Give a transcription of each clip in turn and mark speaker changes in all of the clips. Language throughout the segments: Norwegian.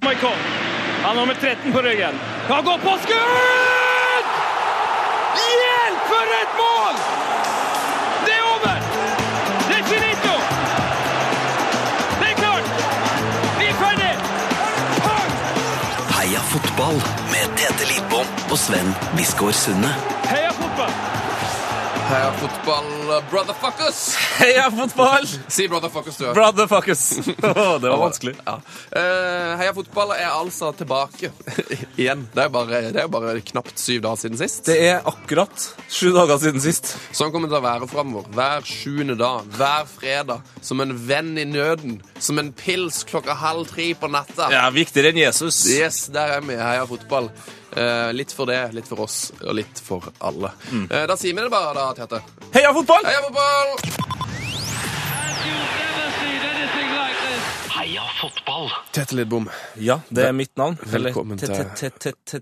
Speaker 1: kom. Han har nummer 13 på ryggen. Han går på skudd! Hjelp, for et mål! Det er over! Det er finito! Det er klart! Vi er ferdig!
Speaker 2: Heia fotball med Tete Lidbom og Sven Biskår Sunde.
Speaker 1: Heia fotball!
Speaker 3: Heia fotball, uh, brotherfuckers!
Speaker 4: Heia fotball!
Speaker 3: Si brotherfuckers, du.
Speaker 4: Brotherfuckers! Åh, det var vanskelig.
Speaker 3: Ja. Eh, heia fotball er altså tilbake igjen. Det er jo bare, det er jo bare knapt syv dager siden sist.
Speaker 4: Det er akkurat sju dager siden sist.
Speaker 3: Sånn kommer det til å være framover. Hver sjuende dag, hver fredag. Som en venn i nøden. Som en pils klokka halv tre på natta.
Speaker 4: Ja, Viktigere enn Jesus.
Speaker 3: Yes, der er vi. Heia fotball. Eh, litt for det, litt for oss, og litt for alle.
Speaker 4: Mm.
Speaker 3: Eh, da sier vi det bare, da, Tete.
Speaker 4: Heia fotball!
Speaker 3: Heia fotball!
Speaker 2: Heia fotball!
Speaker 3: Tete Lidbom.
Speaker 4: Ja, det er mitt navn. Eller
Speaker 3: Velkommen til-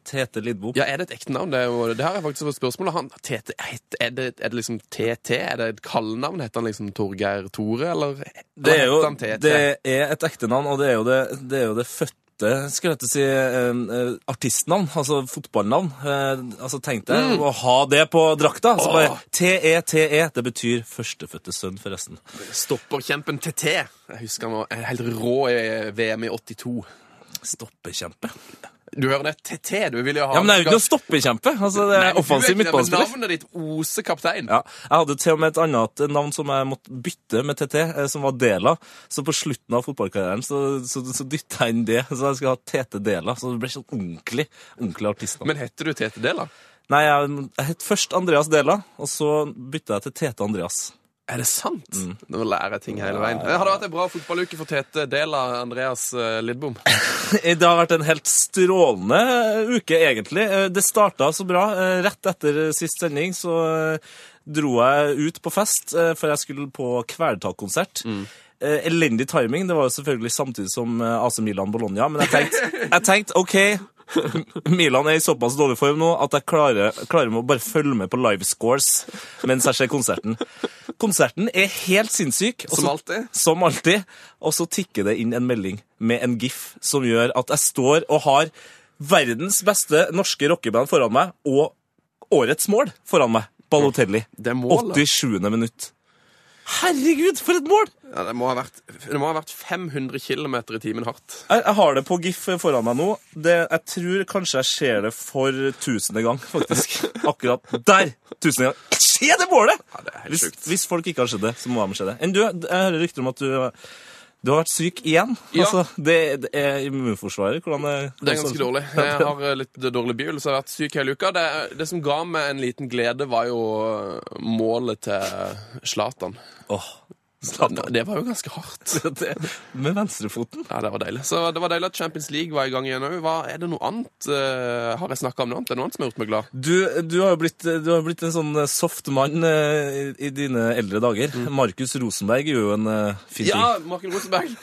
Speaker 4: Tete Lidbom.
Speaker 3: Ja, er det et ekte navn? Det, er jo, det her er faktisk et spørsmål. Han, TT, het- er, det, er det liksom TT? Er det et kallenavn? Heter han liksom Torgeir Tore, eller,
Speaker 4: Det er jo
Speaker 3: heter han TT?
Speaker 4: det er et ekte navn, og det er jo det, det, er jo det fødte skulle jeg til å si, eh, eh, artistnavn, altså fotballnavn. Eh, altså Tenk deg
Speaker 3: Mm.
Speaker 4: å ha det på drakta. Så bare TETE. E, Det betyr førstefødte sønn, forresten.
Speaker 3: Stopperkjempen TT. Jeg husker han var helt rå i VM i 82.
Speaker 4: Stoppekjempe.
Speaker 3: Du hører det? TT. Du vil jo ha
Speaker 4: Ja, Men det er jo ikke noe stoppekjempe! Altså, det
Speaker 3: Nei,
Speaker 4: er
Speaker 3: men du
Speaker 4: offensiv
Speaker 3: ikke det, men
Speaker 4: midtbanespiller.
Speaker 3: Navnet ditt oser kaptein.
Speaker 4: Ja, Jeg hadde til og med et annet navn som jeg måtte bytte med TT, eh, som var Dela. Så på slutten av fotballkarrieren så, så, så dytta jeg inn det. Så jeg skal ha TT Dela. Så det ble sånn ordentlig ordentlig artistnavn.
Speaker 3: Men heter du TT Dela?
Speaker 4: Nei, jeg, jeg het først Andreas Dela, og så bytta jeg til Tete Andreas.
Speaker 3: Er det sant? Mm. Nå lærer jeg ting hele veien. Det hadde vært en bra fotballuke for TT Dela, Andreas eh, Lidbom.
Speaker 4: Det har vært en helt strålende uke, egentlig. Eh, Det starta så bra. Eh, Rett etter sist sending så eh, dro jeg ut på fest, eh, for jeg skulle på Kvelertak-konsert.
Speaker 3: Mm.
Speaker 4: Eh, Elendig timing. Det var jo selvfølgelig samtidig som eh, AC Milan Bologna, men jeg tenkte, jeg tenkte OK. Milan er i såpass dårlig form nå at jeg klarer, klarer med å bare følge med på livescores mens jeg ser konserten. Konserten er helt sinnssyk. Altså, og
Speaker 3: Som
Speaker 4: så-
Speaker 3: alltid.
Speaker 4: som alltid. Og så tikker det inn en melding med en gif som gjør at jeg står og har verdens beste norske rockeband foran meg, og årets mål foran meg. Balotelli.
Speaker 3: Det er målet.
Speaker 4: 87. minutt. Herregud, for et mål!
Speaker 3: Ja, det, må ha vært, det må ha vært 500 km i timen hardt.
Speaker 4: Jeg, jeg har det på gif foran meg nå. Det, jeg tror kanskje jeg ser det for tusende gang, faktisk. Akkurat der! Tusende gang. Se det målet!
Speaker 3: Ja, det er helt
Speaker 4: Hvis,
Speaker 3: sjukt.
Speaker 4: hvis folk ikke har sett det, så må de se det. Enn du, jeg hører rykter om at du, du har vært syk igjen.
Speaker 3: Ja.
Speaker 4: Altså, det, det er immunforsvaret. Hvordan er,
Speaker 3: Det er ganske dårlig. Jeg har eh, litt dårlig bil, så jeg har vært syk hele uka. Det, det som ga meg en liten glede, var jo eh, målet til Zlatan.
Speaker 4: Åh,
Speaker 3: Det var jo ganske hardt.
Speaker 4: det, med venstrefoten.
Speaker 3: Ja, det var deilig. Så det var deilig at Champions League var i gang igjen òg. Hva- Er det noe annet? eh, har jeg snakka om noe annet? Er det noe annet som har gjort meg glad?
Speaker 4: Du, du har jo blitt, du har blitt en sånn soft mann eh, i, i dine eldre dager. Markus Rosenberg er jo en eh, fin
Speaker 3: Ja,
Speaker 4: fyr.
Speaker 3: Marken Rosenberg.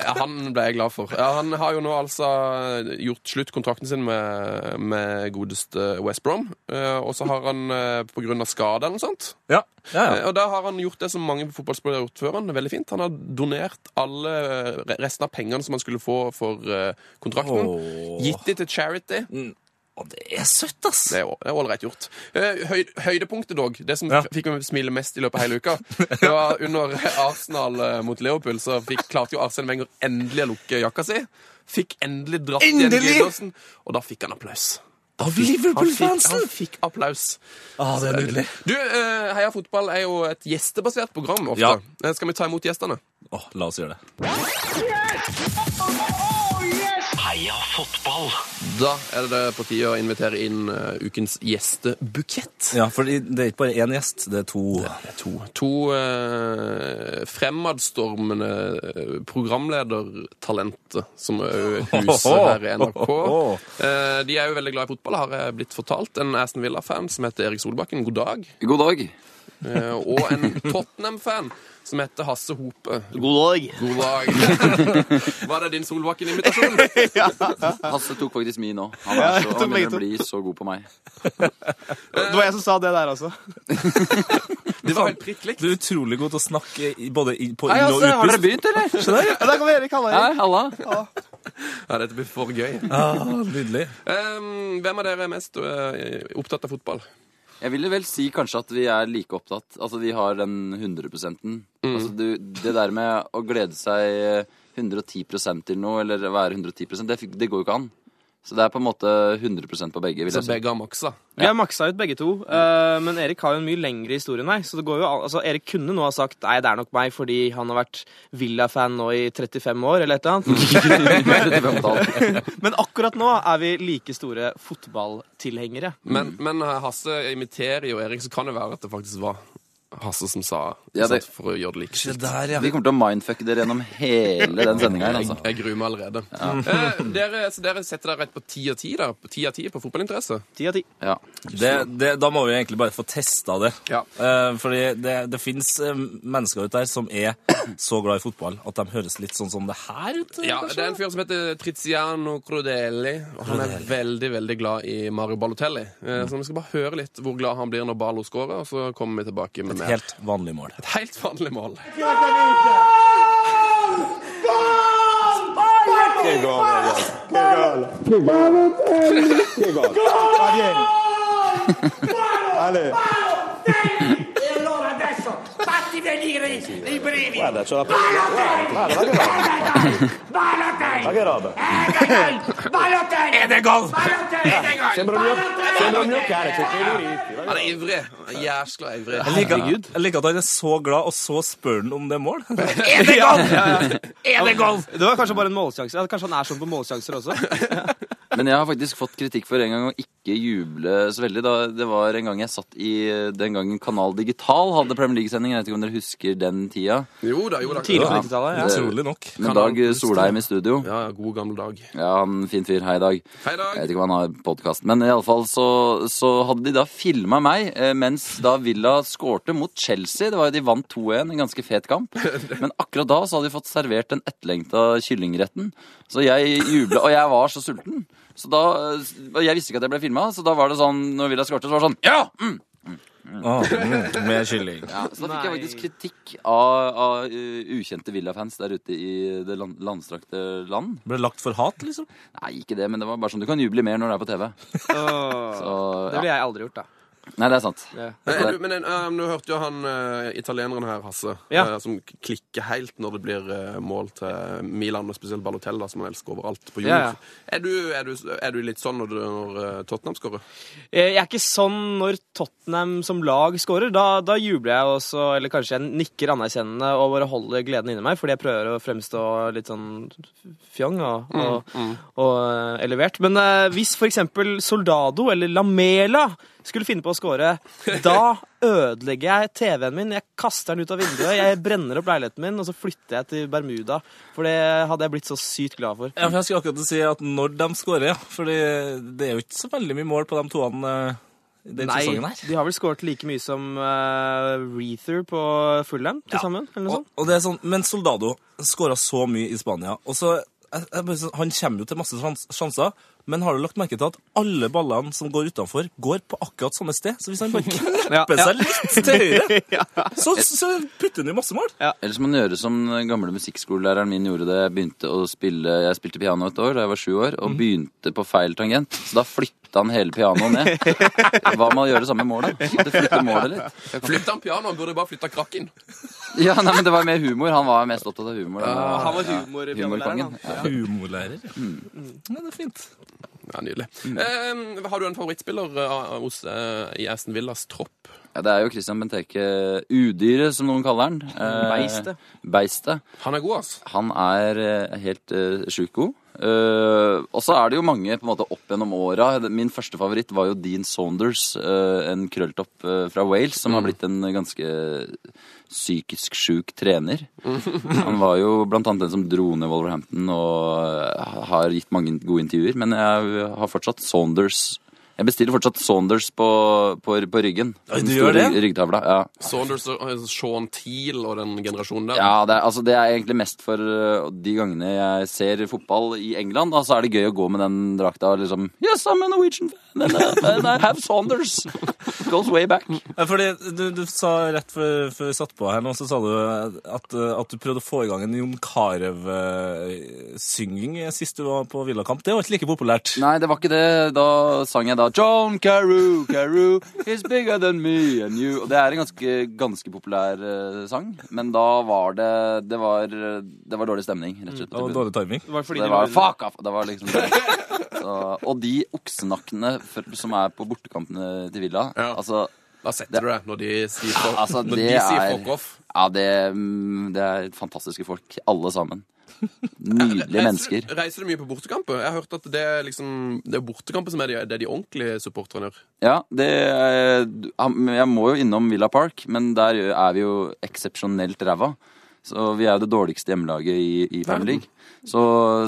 Speaker 3: Ja, han ble jeg glad for. Ja, han har jo nå altså gjort slutt kontrakten sin med, med godeste West Brom. Eh, og så har han, eh, på grunn av skade eller noe sånt,
Speaker 4: Ja, ja, ja.
Speaker 3: Eh, Og da har han gjort det som mange fotballspillere har gjort før. Han veldig fint. Han har donert alle eh, resten av pengene som han skulle få for eh, kontrakten.
Speaker 4: Åh. Mm.
Speaker 3: Gitt de til charity.
Speaker 4: Å, det er søtt, ass!
Speaker 3: Det er jo- det er ålreit gjort. Eh, Høy, høydepunktet, dog, det som
Speaker 4: Ja.
Speaker 3: f- fikk meg smile mest i løpet av hele uka, det var under Arsenal eh, mot Liverpool, så fikk, klarte jo Arsen Wenger endelig å lukke jakka si. Fikk endelig dratt igjen
Speaker 4: Endelig!
Speaker 3: Gundersen, og da fikk han applaus.
Speaker 4: Av
Speaker 3: Han fikk,
Speaker 4: Liverpool-fansen!
Speaker 3: han fikk applaus.
Speaker 4: Ah, det er nydelig.
Speaker 3: Du, eh, Heia fotball er jo et gjestebasert program ofte.
Speaker 4: Ja.
Speaker 3: Eh, Skal vi ta imot gjestene?
Speaker 4: Åh, la oss gjøre det.
Speaker 2: Heia fotball!
Speaker 3: Da er det på tide å invitere inn eh, ukens gjestebukett.
Speaker 4: Ja, for det er ikke bare én gjest, det er to.
Speaker 3: Det er To, to eh, fremadstormende eh, programledertalenter som òg huser her i NRK. Eh, de er jo veldig glad i fotball, har jeg blitt fortalt. En Aston Villa-fan som heter Erik Solbakken, god dag.
Speaker 5: God dag.
Speaker 3: Eh, og en Tottenham-fan som heter Hasse Hope.
Speaker 5: God dag.
Speaker 3: God dag. Var det din Solbakken-invitasjon?
Speaker 5: Hasse tok faktisk min òg. Han, er så- han begynner å bli så god på meg.
Speaker 6: Det var jeg som sa det der også.
Speaker 3: Det var helt prikk likt.
Speaker 4: Du er utrolig god til å snakke i- både i- på
Speaker 3: Nei,
Speaker 4: inn- og
Speaker 3: altså, har
Speaker 5: Har dere
Speaker 4: utpust.
Speaker 5: begynt, eller?
Speaker 6: Ja, da kan vi Erik Halle.
Speaker 5: Nei, halla.
Speaker 3: Ja, dette blir for gøy.
Speaker 4: Ah, nydelig.
Speaker 3: Ehm, hvem av dere er mest eh, opptatt av fotball?
Speaker 5: Jeg ville vel si kanskje at vi er like opptatt. Altså, vi har den 100%-en. Altså, du, det der med å glede seg eh, 110 til noe, eller være 110 det, fik- det går jo ikke an. Så det er på en måte 100 på begge. Vil
Speaker 3: Så
Speaker 5: jeg si.
Speaker 3: begge har maksa.
Speaker 6: Vi har maksa ut begge to, eh, men Erik har jo en mye lengre historie enn meg. Så det går jo an, altså Erik kunne nå ha sagt nei, det er nok meg, fordi han har vært Villa-fan nå i 35 år, eller et eller annet. Mm. men akkurat nå er vi like store fotballtilhengere.
Speaker 3: Men, men eh, Hasse imiterer jo Erik, så kan det være at det faktisk var Hasse som sa
Speaker 5: Ja, det-
Speaker 3: sant, for å gjøre det like.
Speaker 4: Se der, ja.
Speaker 5: Vi kommer til å mindfucke dere gjennom hele den sendinga her,
Speaker 3: Jeg,
Speaker 5: altså.
Speaker 3: jeg gruer meg allerede. Eh, dere, så dere setter dere rett på ti av ti da? På ti av ti på fotballinteresse?
Speaker 6: Ti av ti.
Speaker 5: Ja.
Speaker 4: Det, det, da må vi egentlig bare få testa det.
Speaker 3: Ja.
Speaker 4: Eh, fordi det, det fins eh, mennesker ute der som er så glad i fotball at de høres litt sånn som det her ut. eh,
Speaker 3: Ja,
Speaker 4: kanskje?
Speaker 3: det er en fyr som heter Triziano Crodelli. Og han er veldig veldig glad i Mario Balotelli. Eh, Så vi skal bare høre litt hvor glad han blir når Balo scorer, og så kommer vi tilbake med mer.
Speaker 4: Helt vanlig mål.
Speaker 3: Et helt vanlig mål.
Speaker 7: E allora adesso fatti venire i, i brividi. Guarda, c'ho la Balotelli! Guarda, ma che roba! Balotelli! Ma che roba! Balotelli! Ed è gol! Balotelli! Ed è gol! Sembra un mio, sembra un mio
Speaker 3: Han er ivrig. Han er Jæskla ivrig.
Speaker 4: Jeg liker, jeg liker at han er så glad, og så spør han om det er mål.
Speaker 7: Ed è gol! Ed è gol!
Speaker 6: Det var kanskje bare en målsjanse. Ja, Kanskje han er sånn på målsjanser også.
Speaker 5: Men jeg har faktisk fått kritikk for en gang å ikke juble så veldig. Da. Det var en gang jeg satt i den gangen Kanal Digital hadde Premier League-sending. Jeg vet ikke om dere husker den tida.
Speaker 3: Jo da, jo da.
Speaker 6: Tidlig på
Speaker 3: Ja.
Speaker 6: 90-tallet. Ja.
Speaker 4: Utrolig nok.
Speaker 5: Med
Speaker 3: Kanal
Speaker 5: Dag Solheim i studio.
Speaker 3: Ja, ja, god gammel dag.
Speaker 5: Ja, han fin fyr. Hei, Dag.
Speaker 3: Hei, Dag.
Speaker 5: Jeg vet ikke om han har podkast, men iallfall så, så hadde de da filma meg eh, mens da Villa skårte mot Chelsea. Det var jo De vant 2-1, en ganske fet kamp. Men akkurat da så hadde de fått servert den etterlengta kyllingretten. Så jeg jubla, og jeg var så sulten. Så da, eh, og Jeg visste ikke at jeg ble filma, så da var det sånn når Villa skårte, så var det sånn Ja! Mm!
Speaker 4: Ah, mm, med kylling.
Speaker 5: Ja, så da fikk jeg
Speaker 6: Nei.
Speaker 5: faktisk kritikk av, av eh, ukjente Villa-fans der ute i det land, landstrakte land.
Speaker 4: Ble lagt for hat, liksom?
Speaker 5: Nei, ikke det, men det var bare sånn du kan juble mer når det er på TV.
Speaker 6: Åh,
Speaker 5: Så,
Speaker 6: Det
Speaker 5: ja.
Speaker 6: ville jeg aldri gjort, da.
Speaker 5: Nei, det er sant.
Speaker 6: Ja.
Speaker 3: Men, men eh, nå hørte jo han eh, italieneren her, Hasse,
Speaker 6: Ja.
Speaker 3: eh, som k- klikker helt når det blir eh, mål til Milan, og spesielt Balotelli, da, som han elsker overalt på jord.
Speaker 6: Ja, ja.
Speaker 3: Er, du, er, du, er du litt sånn når, du- når eh, Tottenham skårer?
Speaker 6: Eh, Jeg er ikke sånn når Tottenham som lag scorer. Da, da jubler jeg også, eller kanskje jeg nikker anerkjennende og bare holder gleden inni meg, fordi jeg prøver å fremstå litt sånn fjong og, og, og eh, elevert. Men eh, hvis for eksempel Soldado eller Lamela skulle finne på å score, da ødelegger jeg TV-en min. Jeg kaster den ut av vinduet, jeg brenner opp leiligheten min, og så flytter jeg til Bermuda. For det hadde jeg blitt så sykt glad for.
Speaker 4: Ja, for Jeg skulle akkurat si at når de skårer, ja. Fordi det er jo ikke så veldig mye mål på de toene eh, i den
Speaker 6: Nei,
Speaker 4: sesongen her.
Speaker 6: de har vel skåret like mye som uh, Reether på Fulham til sammen? eller noe
Speaker 4: Og,
Speaker 6: sånt?
Speaker 4: og det er sånn, Men Soldado skåra så mye i Spania. og så, jeg, jeg bare, sånn, Han kommer jo til masse sjans- sjanser, men har du lagt merke til at alle ballene som går utenfor, går på akkurat samme sted? Så hvis han bare knepper
Speaker 6: Ja, ja.
Speaker 4: seg litt til høyre, så, så putter han jo masse mål.
Speaker 5: Ellers må man gjøre som den gamle musikkskolelæreren min gjorde da jeg begynte å spille Jeg spilte piano et år da jeg var sju år,
Speaker 6: Mhm.
Speaker 5: og begynte på feil tangent. Så da flytta han hele pianoet ned. Hva med å gjøre det samme med målet? Det flytter målet litt.
Speaker 3: Flytta han pianoet? Han burde bare flytta krakken.
Speaker 5: Ja, nei, men Det var mer humor. Han var mest opptatt av humor.
Speaker 6: Ah, Han var
Speaker 5: ja, humorkongen.
Speaker 6: humorpianolæreren.
Speaker 5: Ja.
Speaker 4: Humorlærer. ja. Ja, det er fint.
Speaker 3: Ja, Nydelig. Eh, har du en favorittspiller eh, hos, eh, i Aston Villas tropp?
Speaker 5: Ja, det er jo Christian Benteke Udyret, som noen kaller han. Eh,
Speaker 6: Beistet.
Speaker 5: Beistet.
Speaker 3: Han er god, altså.
Speaker 5: Han er eh, helt eh, sjukt god. Eh, og så er det jo mange på en måte opp gjennom åra. Min første favoritt var jo Dean Saunders, eh, en krølltopp eh, fra Wales, som
Speaker 4: Mm.
Speaker 5: har blitt en ganske psykisk sjuk trener. Han var jo blant annet den som dro ned Wolverhampton og eh, har gitt mange gode intervjuer. Men jeg har fortsatt Saunders Jeg bestiller fortsatt Saunders på, på, på ryggen.
Speaker 4: Oi, du
Speaker 5: Den
Speaker 4: gjør
Speaker 5: store
Speaker 4: det?
Speaker 5: Ryggtavla, ja.
Speaker 3: Saunders og eh, Sean Teal og den generasjonen der.
Speaker 5: Ja, det er, altså, det er egentlig mest for øh, de gangene jeg ser fotball i England. Da, så er det gøy å gå med den drakta og liksom Yes, I'm a Norwegian fan, and, uh, and I have Saunders. Goes way back.
Speaker 4: Ja, Fordi du, du sa rett før, før vi satt på her nå, så sa du at, eh, at du prøvde å få i gang en Jon Carew-synging sist du var på Villakamp. Det var ikke like populært.
Speaker 5: Nei, det var ikke det. Da sang jeg da John Carew, Carew is bigger than me and you. Og det er en ganske, ganske populær eh, sang, men da var det Det var, det var dårlig stemning, rett Mm, og slett.
Speaker 4: Det
Speaker 5: på
Speaker 4: var
Speaker 5: tribunen.
Speaker 4: dårlig timing.
Speaker 6: Det var fordi
Speaker 5: det
Speaker 6: de
Speaker 5: var
Speaker 6: under.
Speaker 5: fuck off! Det var liksom så, Og de oksenakkene for, som er på bortekampene til Villa,
Speaker 3: Ja.
Speaker 5: altså
Speaker 3: Da setter du det når de sier fuck,
Speaker 5: Altså,
Speaker 3: når
Speaker 5: det
Speaker 3: de sier
Speaker 5: er-
Speaker 3: fuck off.
Speaker 5: Ja, det, mm, det er fantastiske folk, alle sammen. Nydelige mennesker.
Speaker 3: Reiser, reiser du mye på bortekamper? Jeg har hørt at det er liksom Det er bortekamper som er de, det er de ordentlige supporterne gjør.
Speaker 5: Ja, det er, Jeg må jo innom Villa Park, men der er vi jo eksepsjonelt ræva. Så vi er jo det dårligste hjemmelaget i, i Premier League. Så,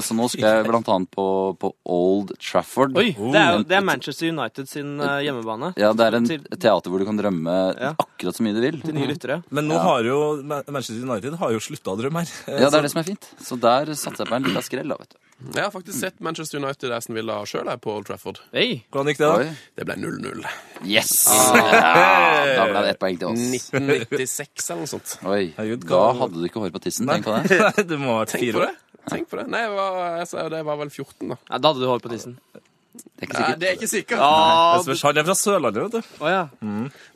Speaker 5: så nå skal jeg blant annet på, på Old Trafford.
Speaker 6: Oi, det er, jo- det er Manchester United sin eh, hjemmebane.
Speaker 5: Ja, det er en
Speaker 6: Til-
Speaker 5: teater hvor du kan drømme
Speaker 6: Ja.
Speaker 5: akkurat så mye du vil.
Speaker 6: Til nye lyttere.
Speaker 4: Men nå har jo Ma- Manchester United har jo slutta å drømme her. Eh,
Speaker 5: Ja, det er det som er fint. Så der satser jeg på en liten skrell, da, vet du.
Speaker 3: Jeg har faktisk sett Manchester United Aston Villa sjøl på Old Trafford.
Speaker 6: Hei,
Speaker 4: Hvordan gikk det, da?
Speaker 5: Oi.
Speaker 3: Det ble 0-0.
Speaker 5: Yes!
Speaker 6: Ah.
Speaker 5: Ja, da ble det ett poeng til oss.
Speaker 3: 1996 eller noe sånt.
Speaker 5: Oi,
Speaker 4: Herregud,
Speaker 5: Da
Speaker 4: hva-
Speaker 5: hadde du ikke hår på tissen, tenk på det.
Speaker 4: Nei, du må ha vært
Speaker 3: Tenk
Speaker 4: fire
Speaker 3: på
Speaker 4: år.
Speaker 3: det. Tenk på det. Nei, jeg var, jeg, sa- det var vel 14, da.
Speaker 6: ja, Da hadde du hår på tissen.
Speaker 5: Det er ikke
Speaker 3: Nei,
Speaker 5: sikkert.
Speaker 3: det er ikke sikkert.
Speaker 6: Ah,
Speaker 4: Det spørs. Han er fra Sørlandet, vet du.
Speaker 6: å ja.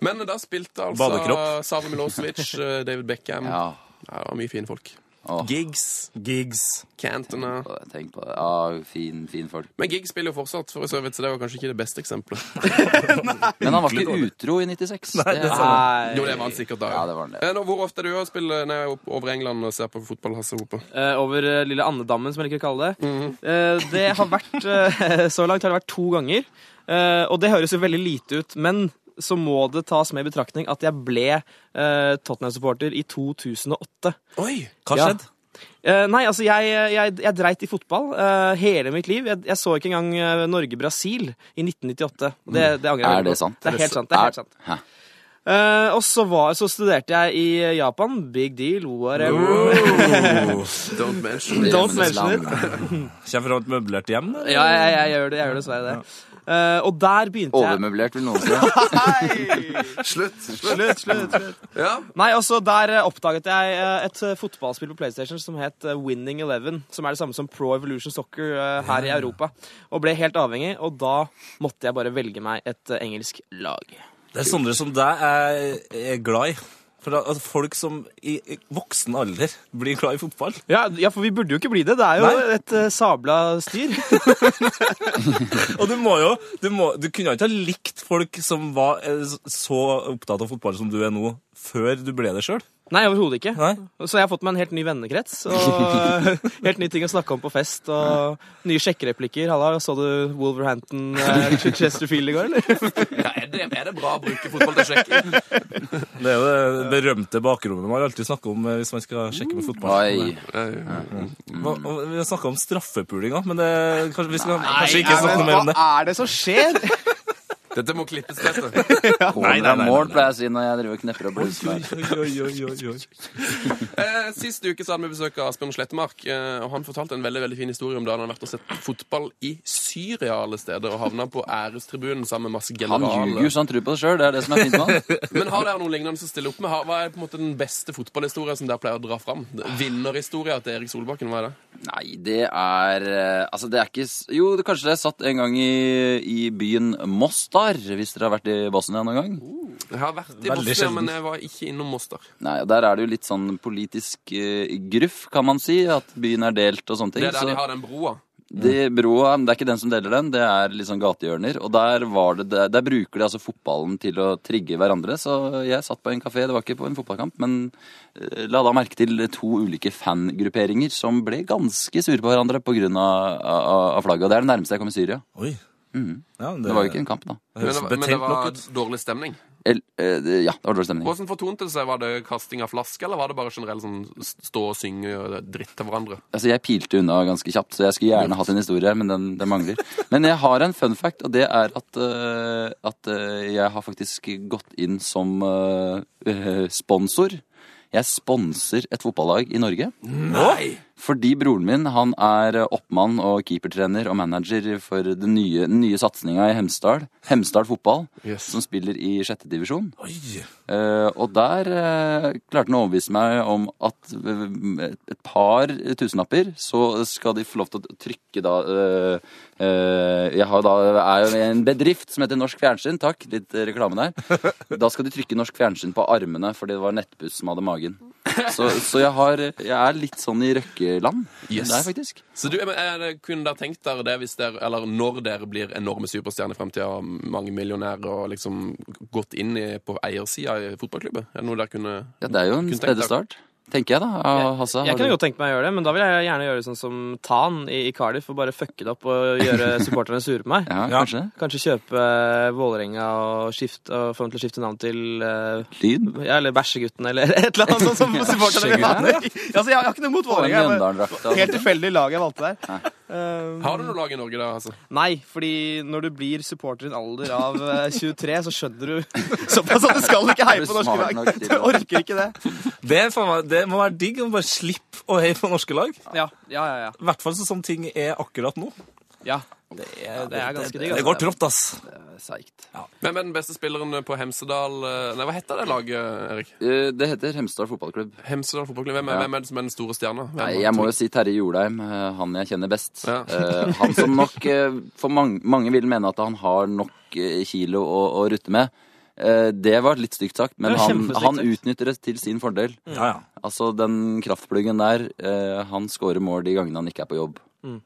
Speaker 3: Men da spilte altså
Speaker 4: Badekropp.
Speaker 3: Save Milosevic, eh, David Beckham
Speaker 5: Ja,
Speaker 3: ja. Det var mye fine folk.
Speaker 5: Åh.
Speaker 3: Giggs,
Speaker 4: Gigs.
Speaker 3: Cantona
Speaker 5: tenk på det. Ja, fin, fin folk.
Speaker 3: Men Giggs spiller jo fortsatt, for så vidt, så det var kanskje ikke det beste eksempelet.
Speaker 5: Men han var ikke utro i 96. Nei,
Speaker 4: det er
Speaker 3: Jo, det var han sikkert da.
Speaker 5: Ja, det var han, det.
Speaker 3: Eh, nå, Hvor ofte er du og spiller nei, opp- over England og ser på fotball, Hasse Hope?
Speaker 6: Eh, over eh, lille Andedammen, som jeg liker å kalle det. Eh, det har vært eh, Så langt har det vært to ganger. Eh, og det høres jo veldig lite ut, men så må det tas med i betraktning at jeg ble eh, Tottenham-supporter i 2008.
Speaker 3: Oi!
Speaker 4: Hva
Speaker 6: Ja.
Speaker 4: skjedde?
Speaker 6: Eh, nei, altså jeg, jeg, jeg dreit i fotball eh, hele mitt liv. Jeg, jeg så ikke engang eh, Norge-Brasil i 1998. Og Det, det
Speaker 5: Mm.
Speaker 6: angrer jeg
Speaker 5: Er
Speaker 6: veldig
Speaker 5: det
Speaker 6: på.
Speaker 5: sant?
Speaker 6: Det er helt sant. det er helt sant.
Speaker 5: Hæ?
Speaker 6: Eh, og så, var, så studerte jeg i Japan. Big deal, whatever.
Speaker 3: Oh, Don't mention it.
Speaker 6: Don't mention it.
Speaker 4: Kommer fra et møblert hjem? eller?
Speaker 6: Ja, jeg, jeg, jeg gjør det. Jeg gjør dessverre det. Eh, og der begynte jeg
Speaker 5: Overmøblert, vil noen si.
Speaker 3: Slutt. Slutt, slutt, slutt. Ja,
Speaker 6: Nei, altså Der eh, oppdaget jeg eh, et eh, fotballspill på PlayStation som het eh, Winning Eleven. Som er det samme som Pro Evolution Soccer eh, her i Europa. Og ble helt avhengig, og da måtte jeg bare velge meg et eh, engelsk lag.
Speaker 4: Det er sånne som deg jeg er glad i. For da- altså, folk som i i voksen alder blir glad i fotball.
Speaker 6: Ja, ja, for vi burde jo ikke bli det. Det er jo
Speaker 4: Nei.
Speaker 6: et eh, sabla styr.
Speaker 4: Og du må jo Du, må, du kunne jo ikke ha likt folk som var eh, så opptatt av fotball som du er nå, før du ble det sjøl.
Speaker 6: Nei, overhodet ikke.
Speaker 4: Nei?
Speaker 6: Så jeg har fått meg en helt ny vennekrets. Og eh, helt nye ting å snakke om på fest. Og nye sjekkereplikker. Halla, så du Wolverhampton eh, Chesterfield i går, eller?
Speaker 3: ja er, det, er det bra å bruke fotball til sjekking?
Speaker 4: Det er jo det berømte bakrommet man alltid snakker om eh, hvis man skal sjekke med fotball.
Speaker 5: Oi.
Speaker 4: Hva, og vi har snakka om straffepulinga, men det, kanskje vi skal kanskje ikke
Speaker 6: men
Speaker 4: snakke noe mer om det.
Speaker 6: er det som skjer?
Speaker 3: Dette må klippes, dette.
Speaker 5: Corner av mål, pleier jeg å si når jeg driver og knepper opp blusen. her.
Speaker 4: Oi, oi, oi, oi, oi.
Speaker 3: Eh, sist uke så hadde vi besøk av Asbjørn Slettemark, eh, og han fortalte en veldig, veldig fin historie om da han hadde vært og sett fotball i Syria alle steder, og havna på ærestribunen sammen med masse
Speaker 5: Han ljuger
Speaker 3: generaler.
Speaker 5: så han tror på det sjøl, det er det som er fint med han.
Speaker 3: Men har dere noe lignende som stiller opp med? Har- Hva er på en måte den beste fotballhistoria som dere pleier å dra fram? Vinnerhistoria til Erik Solbakken, hva er det?
Speaker 5: Nei, det er eh, Altså, det er ikke s- Jo, det, kanskje det er satt en gang i, i byen Mostar, hvis dere har vært i Bosnia noen gang.
Speaker 3: Jeg har vært i
Speaker 4: Veldig
Speaker 3: Bosnia,
Speaker 4: sjelden.
Speaker 3: men jeg var ikke innom Moster.
Speaker 5: Nei, og Der er det jo litt sånn politisk eh, gruff, kan man si. At byen er delt og sånne ting.
Speaker 3: Det er der
Speaker 5: så-
Speaker 3: de har den broa.
Speaker 5: De broa, det er ikke den som deler den, det er litt sånn gatehjørner. Og der, var det, der, der bruker de altså fotballen til å trigge hverandre. Så jeg satt på en kafé, det var ikke på en fotballkamp, men eh, la da merke til to ulike fangrupperinger som ble ganske sure på hverandre pga. av flagget. Og det er det nærmeste jeg kom i Syria.
Speaker 4: Oi. Ja, men
Speaker 5: Mm. Det var jo ikke en kamp, da.
Speaker 4: det
Speaker 3: Men
Speaker 4: høres
Speaker 3: det, var- men det
Speaker 4: betent nok
Speaker 3: var
Speaker 4: ut.
Speaker 3: dårlig stemning.
Speaker 5: el- eh, det- Ja, det var dårlig stemning.
Speaker 3: Hvordan fortonte det seg? Var det kasting av flaske, eller var det bare generelt sånn stå og synge og dritt til hverandre?
Speaker 5: Altså, jeg pilte unna ganske kjapt, så jeg skulle gjerne hatt en historie her, men den, den mangler. Men jeg har en fun fact, og det er at, eh, at eh, jeg har faktisk gått inn som eh, eh, sponsor. Jeg sponser et fotballag i Norge.
Speaker 4: Nei!
Speaker 5: Fordi broren min han er oppmann og keepertrener og manager for den nye, den nye satsinga i Hemsedal. Hemsedal fotball,
Speaker 3: Yes.
Speaker 5: som spiller i sjette divisjon.
Speaker 4: Oi.
Speaker 5: Eh, og der eh, klarte han å overbevise meg om at eh, et par tusenlapper, så skal de få lov til å trykke da eh, eh, Jeg har da, er jo i en bedrift som heter Norsk Fjernsyn, takk, litt eh, reklame der. Da skal de trykke Norsk Fjernsyn på armene, for det var Nettbuss som hadde magen. Så, så jeg, har, jeg er litt sånn i Røkkeland
Speaker 3: Yes.
Speaker 5: der, faktisk.
Speaker 3: Så du, men er det- Kunne dere tenkt dere det hvis dere, eller når dere blir enorme superstjerner i fremtiden og mange millionærer og liksom gått inn i, på eiersida i fotballklubben? Er det noe dere kunne
Speaker 5: Ja, det er jo en
Speaker 3: Kunne tenkt
Speaker 5: spede
Speaker 3: deg-
Speaker 5: start, tenker jeg da. av Hasse,
Speaker 6: Jeg
Speaker 5: har
Speaker 6: kunne
Speaker 5: du-
Speaker 6: godt tenkt meg å gjøre det, men da vil jeg gjerne gjøre sånn som Tan i, i Cardiff og bare fucke det opp og gjøre supporterne sure på meg.
Speaker 5: ja,
Speaker 4: Ja.
Speaker 5: kanskje det.
Speaker 6: Kanskje kjøpe eh, Vålerenga og, skifte, og få dem til å skifte navn til eh,
Speaker 5: Lyd.
Speaker 6: ja, Eller Bæsjegutten eller et eller annet sånt som supporterne vil ha. Altså, jeg har ikke noe mot
Speaker 5: Og en
Speaker 6: Vålerenga. jeg bare-
Speaker 5: Mjøndalen-drakt.
Speaker 6: Helt tilfeldig lag jeg valgte der. Eh,
Speaker 3: Har du noe lag i Norge, da? Altså?
Speaker 6: Nei, fordi når du blir supporter i en alder av eh, 23, så skjønner du såpass at du skal ikke heie
Speaker 5: Er du
Speaker 6: på norske
Speaker 5: smart nok
Speaker 6: lag.
Speaker 5: til
Speaker 6: Du
Speaker 5: å-
Speaker 6: orker ikke det.
Speaker 4: Det, er faen meg- det må være digg å bare slippe å heie på norske lag. I
Speaker 6: Ja, ja, ja. ja.
Speaker 4: hvert fall sånn som ting er akkurat nå.
Speaker 6: ja. Det, er, det er ganske digg.
Speaker 4: Det
Speaker 6: altså.
Speaker 4: går trått, ass.
Speaker 5: Seigt.
Speaker 3: Hvem er den beste spilleren på Hemsedal eh, Nei, hva heter det laget, Erik?
Speaker 5: Eh, Det heter Hemsedal fotballklubb.
Speaker 3: Hemsedal fotballklubb. Hvem, er-
Speaker 5: Ja.
Speaker 3: hvem er det som er den store stjerna? Hvem
Speaker 5: Nei,
Speaker 3: er-
Speaker 5: jeg må jo si Terje Jordheim, eh, han jeg kjenner best.
Speaker 3: Ja.
Speaker 5: Eh, Han som nok eh, For mange, mange vil mene at han har nok eh, kilo å, å rutte med. Eh, Det var litt stygt sagt, men
Speaker 6: Det var
Speaker 5: han,
Speaker 6: kjempestygt
Speaker 5: han
Speaker 6: sagt.
Speaker 5: utnytter det til sin fordel.
Speaker 4: Ja, ja.
Speaker 5: Altså, den kraftpluggen der, eh, han scorer mål de gangene han ikke er på jobb.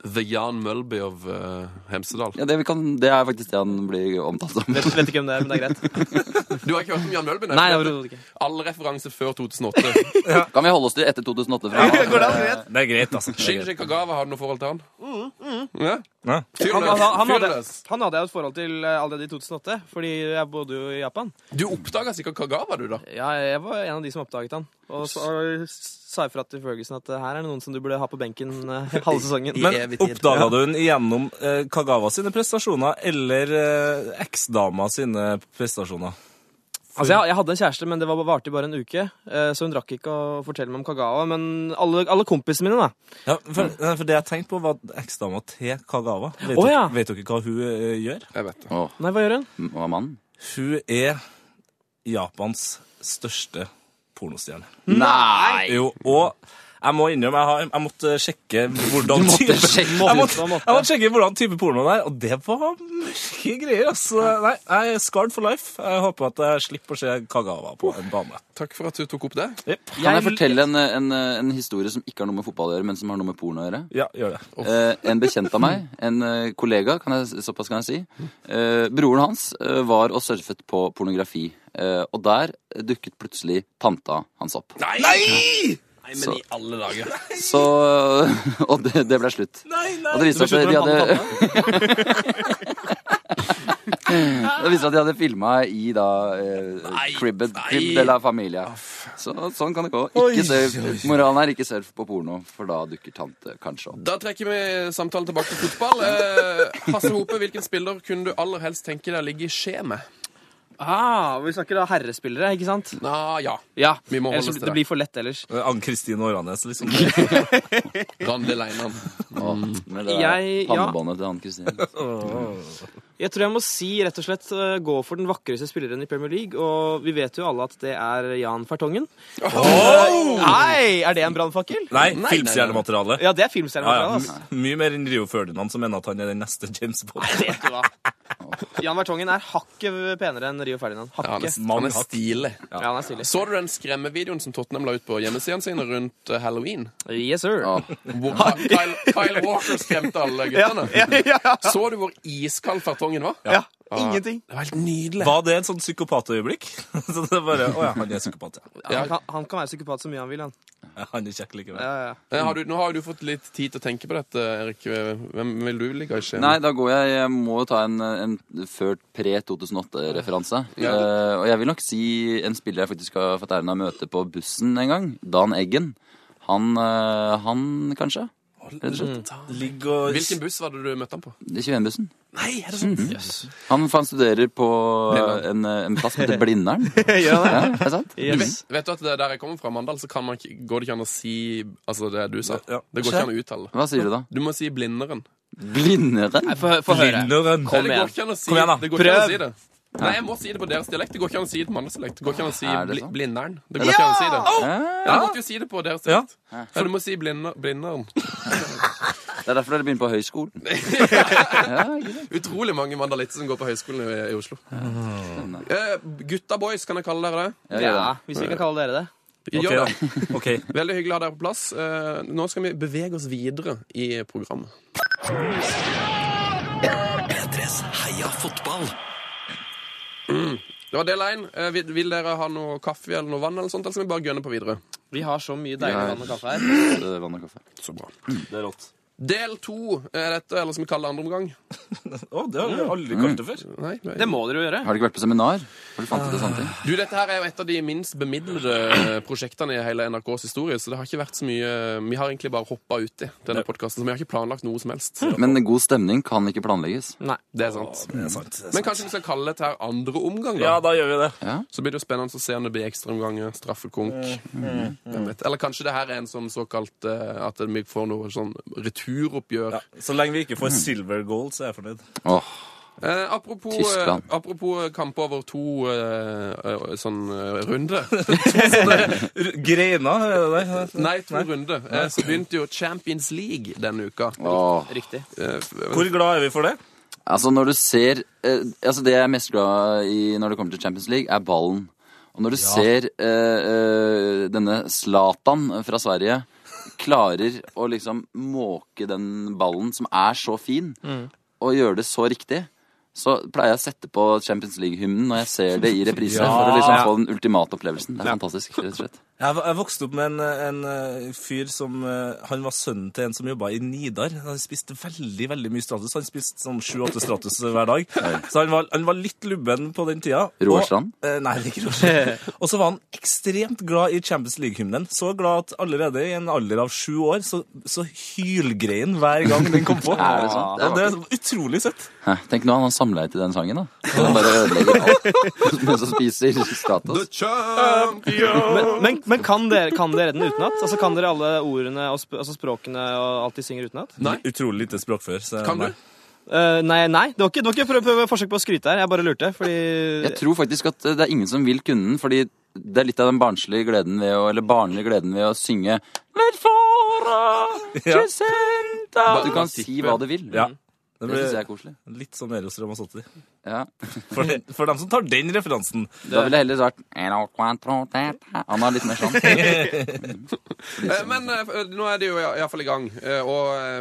Speaker 3: The Jan Mølby of eh, Hemsedal.
Speaker 5: Ja, det, vi kan, det er faktisk det han blir omtalt som.
Speaker 6: Vet, vet ikke hvem det er, men det er greit.
Speaker 3: Du har ikke hørt om Jan Mølby?
Speaker 6: Nei, overhodet ikke.
Speaker 3: All referanse før 2008.
Speaker 5: Kan vi holde oss til etter 2008? Fra?
Speaker 6: Går det an greit?
Speaker 4: Det er greit, altså. Det er greit.
Speaker 3: Shinji Kagawa, har du noe forhold til han? Ja?
Speaker 4: Ja.
Speaker 3: Fyr
Speaker 6: Mm, Han,
Speaker 3: løs.
Speaker 6: han, han,
Speaker 3: Fyr
Speaker 6: hadde,
Speaker 3: løs.
Speaker 6: han hadde jeg et forhold til eh, allerede i 2008, fordi jeg bodde jo i Japan.
Speaker 3: Du oppdaga sikkert Kagawa, du, da.
Speaker 6: Ja, jeg var en av de som oppdaget han. Og så og sa ifra til Ferguson at eh, her er det noen som du burde ha på benken eh, halve sesongen.
Speaker 4: Men oppdaga du den gjennom eh, Kagawa sine prestasjoner eller eh, eksdama sine prestasjoner?
Speaker 6: Altså, jeg, jeg hadde en kjæreste, men det var- varte jo bare en uke, eh, så hun rakk ikke å fortelle meg om Kagawa. Men alle, alle kompisene mine, da.
Speaker 4: Ja, for, nei, for det jeg tenkte på, var eksdama til Kagawa. Vet,
Speaker 6: Å,
Speaker 4: dere-
Speaker 6: ja.
Speaker 4: vet dere hva hun eh, gjør?
Speaker 3: Jeg vet det.
Speaker 5: Åh,
Speaker 6: Nei, hva gjør hun?
Speaker 5: hva er mannen?
Speaker 4: Hun er Japans største pornostjerne.
Speaker 5: Nei!
Speaker 4: Jo, og jeg må innrømme, jeg, har, jeg måtte sjekke hvordan type,
Speaker 5: sjekke.
Speaker 4: jeg måtte,
Speaker 6: Du måtte.
Speaker 4: jeg måtte sjekke hvordan type porno det er, og det var mørke greier. Altså. Nei, jeg er scarred for life. Jeg håper at jeg slipper å se Kagawa på en bane.
Speaker 3: Takk for at du tok opp det.
Speaker 5: Kan jeg fortelle en, en, en historie som ikke har noe med fotball å gjøre, men som har noe med porno å gjøre?
Speaker 4: Ja, gjør det.
Speaker 5: Eh, en bekjent av meg, en eh, kollega, kan jeg, såpass kan jeg si. Eh, broren hans eh, var og surfet på pornografi. Eh, og der dukket plutselig tanta hans opp.
Speaker 3: Nei!
Speaker 5: Så,
Speaker 3: alle dager.
Speaker 5: så Og det, det ble slutt. Og det viste
Speaker 6: Det
Speaker 5: seg
Speaker 6: ble
Speaker 5: at de
Speaker 6: slutt med
Speaker 5: hadde Det viste seg at de hadde filma i da eh, cribbed, crib de la familia. Så, sånn kan det gå. Ikke surf. Moralen er ikke surf på porno, for da dukker tante kanskje opp.
Speaker 3: Da trekker vi samtalen tilbake til fotball. Eh, Hasse Hope, hvilken spiller kunne du aller helst tenke deg ligge i skje med?
Speaker 6: Ah, vi snakker da herrespillere, ikke sant?
Speaker 3: Ah, ja.
Speaker 6: Ja.
Speaker 3: Vi må
Speaker 6: ellers,
Speaker 3: holde oss til
Speaker 6: det
Speaker 3: det.
Speaker 6: blir for lett ellers.
Speaker 4: Ann-Kristin Åranes, liksom.
Speaker 3: Randel Einan.
Speaker 5: Med det der
Speaker 6: Jeg- ja.
Speaker 5: pannebåndet til han Kristine.
Speaker 6: Jeg tror jeg må si rett og slett eh, gå for den vakreste spilleren i Premier League, og vi vet jo alle at det er Jan Fertongen. Nei, er det en brannfakkel?
Speaker 4: Nei, filmstjernemateriale.
Speaker 6: Ja, det er filmstjernen.
Speaker 4: Ja, ja.
Speaker 6: vår, altså.
Speaker 4: m- Mye mer enn Rio Ferdinand, som mener at han er den neste James Bond.
Speaker 6: Vet du hva? Jan Vertongen er hakket penere enn Rio Ferdinand.
Speaker 3: Han er,
Speaker 6: Hakket.
Speaker 3: han er stilig.
Speaker 6: Ja, han er stilig.
Speaker 3: Så du den skremmevideoen som Tottenham la ut på hjemmesidene sine rundt eh, halloween?
Speaker 6: Yes, sir.
Speaker 5: Ja.
Speaker 3: Hvor Ka- Kyle, Kyle Walker skremte alle
Speaker 6: Ja,
Speaker 3: guttene?
Speaker 6: ja, ja.
Speaker 3: Så du hvor iskald fartongen var?
Speaker 6: ja. Ingenting.
Speaker 3: Det var helt nydelig.
Speaker 4: Var det et sånt psykopatøyeblikk? Så det er bare, Å ja, han er psykopat, ja.
Speaker 6: Han, kan, han kan være psykopat så mye han vil, han.
Speaker 4: ja. Han er kjekk likevel.
Speaker 6: Ja, ja.
Speaker 3: Eh, Har du, nå har jo du fått litt tid til å tenke på dette, Erik. Hvem vil du ligge i skjeen?
Speaker 5: Nei, da går jeg Jeg må jo ta en, en før pre-2008-referanse.
Speaker 3: Ja.
Speaker 5: Eh, og jeg vil nok si en spiller jeg faktisk har fått æren av å møte på bussen en gang. Dan Eggen. Han, eh, han kanskje?
Speaker 4: Ligg og
Speaker 3: Hvilken buss var det du møtte han på?
Speaker 5: Det er 21-bussen.
Speaker 3: Nei, er det sant?
Speaker 5: Mhm. Han, for han studerer på en, eh, en plass som heter Blindern.
Speaker 6: Gjør han det?
Speaker 5: Ja, er det sant? Mhm.
Speaker 3: Du
Speaker 6: Yes.
Speaker 3: vet, vet du at det, der jeg kommer fra, Mandal, så kan man, ikke- går det ikke an å si altså det du sa.
Speaker 4: Ja.
Speaker 3: Det går ikke an å uttale. det.
Speaker 5: Hva sier du da?
Speaker 3: Du må si Blinderen.
Speaker 5: Blinderen?
Speaker 6: Nei, Få få høre.
Speaker 4: Linderen.
Speaker 3: Nei,
Speaker 6: Kom
Speaker 3: det går
Speaker 6: igjen.
Speaker 3: ikke an å si,
Speaker 4: Kom igjen, da.
Speaker 3: det. Går ikke an å
Speaker 6: Prøv.
Speaker 3: si det. Nei, jeg må si det på deres dialekt. Det går ikke an å si det på Mandals dialekt. Det går ikke an å si
Speaker 5: Er det
Speaker 3: bli,
Speaker 5: sant?
Speaker 3: Blinderen. Det går ikke an å si det.
Speaker 5: Ja,
Speaker 3: Ja, jeg måtte jo si det på deres dialekt. Ja. du må si blinder, Blinderen.
Speaker 5: det er derfor dere begynner på høyskolen.
Speaker 3: Utrolig mange mandalitter som går på høyskolen i, i Oslo. Eh, gutta boys, kan jeg kalle dere det.
Speaker 5: Ja, gjør
Speaker 6: Ja,
Speaker 5: det.
Speaker 6: hvis vi kan kalle dere det.
Speaker 3: Gjør
Speaker 4: Ok, da.
Speaker 3: det.
Speaker 4: Ok.
Speaker 3: Veldig hyggelig å ha dere på plass. Eh, nå skal vi bevege oss videre i programmet.
Speaker 2: P3s Heia fotball.
Speaker 3: Mm. Det var del én. Eh, vil, vil dere ha noe kaffe eller noe vann, eller sånt, eller skal vi bare gønne på videre?
Speaker 6: Vi har så mye deilig
Speaker 5: Ja.
Speaker 6: vann og kaffe her.
Speaker 5: Eh, Vann og kaffe.
Speaker 3: Så bra.
Speaker 4: Det er rått.
Speaker 3: Del to er dette, eller som vi kaller det andre omgang.
Speaker 4: Å, det har jeg aldri kalt det før.
Speaker 3: Nei, nei.
Speaker 6: Det må dere jo gjøre.
Speaker 5: Har du ikke vært på seminar? Har du fant ut av sånne ting?
Speaker 3: Du, Dette her er jo et av de minst bemidlede eh, prosjektene i hele NRKs historie, så det har ikke vært så mye eh, Vi har egentlig bare hoppa uti denne podkasten, så vi har ikke planlagt noe som helst.
Speaker 5: Men god stemning kan ikke planlegges.
Speaker 6: Nei.
Speaker 3: Det er sant.
Speaker 4: Det er sant.
Speaker 3: Men kanskje vi skal kalle dette her andre omgang, da?
Speaker 4: Ja, da gjør vi det.
Speaker 3: Så blir det jo spennende å se om det blir ekstraomganger,
Speaker 4: Mm,
Speaker 3: straffekonk Hvem vet. Eller kanskje det her er en sånn såkalt eh, at vi får noe sånn returoppgjør.
Speaker 4: Ja. Så lenge vi ikke får silver gold, så er jeg fornøyd.
Speaker 5: Åh,
Speaker 3: Eh, apropos, eh,
Speaker 5: Tyskland.
Speaker 3: apropos kamp over to eh, eh, sånn eh, runde.
Speaker 4: R- Greina, er det der?
Speaker 3: Nei, to runde. Eh, så begynte jo Champions League denne uka.
Speaker 5: åh.
Speaker 6: Riktig.
Speaker 3: Eh, f-
Speaker 4: Hvor glad er vi for det?
Speaker 5: Altså når du ser eh, Altså Det jeg er mest glad i når det kommer til Champions League, er ballen. Og når du ser eh, eh, denne Zlatan fra Sverige klarer å liksom måke den ballen, som er så fin, og gjøre det så riktig, så pleier jeg å sette på Champions League-hymnen når jeg ser det i reprise. For å liksom få den ultimate opplevelsen. Det er fantastisk, rett og slett.
Speaker 4: Jeg, jeg vokste opp med en, en eh, fyr som eh, Han var sønnen til en som jobba i Nidar. Han spiste veldig veldig mye Stratus. Han spiste sånn sju-åtte Stratus hver dag. Så han var, han var litt lubben på den tida. Og-
Speaker 5: Roar Strand?
Speaker 4: Eh, nei, det er ikke Roar Strand. Og så var han ekstremt glad i Champions League-hymnen. Så glad at allerede i en alder av sju år så, så hylgrein hver gang den kom på.
Speaker 5: Er det sant? Det
Speaker 4: Ja,
Speaker 5: er
Speaker 4: det er utrolig søtt.
Speaker 5: Hæ, Tenk nå, han har samleie til den sangen, da. Han bare ødelegger alt mens han spiser
Speaker 3: The
Speaker 5: Stratos.
Speaker 3: champion!
Speaker 6: Men, men, men kan, dere, kan dere den utenat? Altså, kan dere alle ordene og sp altså, språkene og alt de synger utenat?
Speaker 3: Nei.
Speaker 4: Utrolig lite språk før. Så,
Speaker 3: Kan du?
Speaker 4: nei.
Speaker 6: Eh, nei, nei. Det var ikke, det var ikke prøv, prøv, forsøk på å skryte her. Jeg bare lurte, fordi
Speaker 5: Jeg tror faktisk at eh, det er ingen som vil kunne den, fordi det er litt av den barnslige gleden ved å, eller barnlige gleden ved å synge Velfora,
Speaker 4: Ja.
Speaker 5: Crescenta Du kan si hva du vil.
Speaker 4: Ja. Det
Speaker 5: Det syns jeg
Speaker 4: ble
Speaker 5: er koselig.
Speaker 4: litt sånn Eros Ramazzotti.
Speaker 5: Ja.
Speaker 4: For, for dem som tar den referansen.
Speaker 5: Da ville jeg heller sagt «Ero quattro teta». Han er litt mer sånn.
Speaker 3: Eh, Men eh, f- eh, nå er det jo iallfall i gang. Eh, Og eh,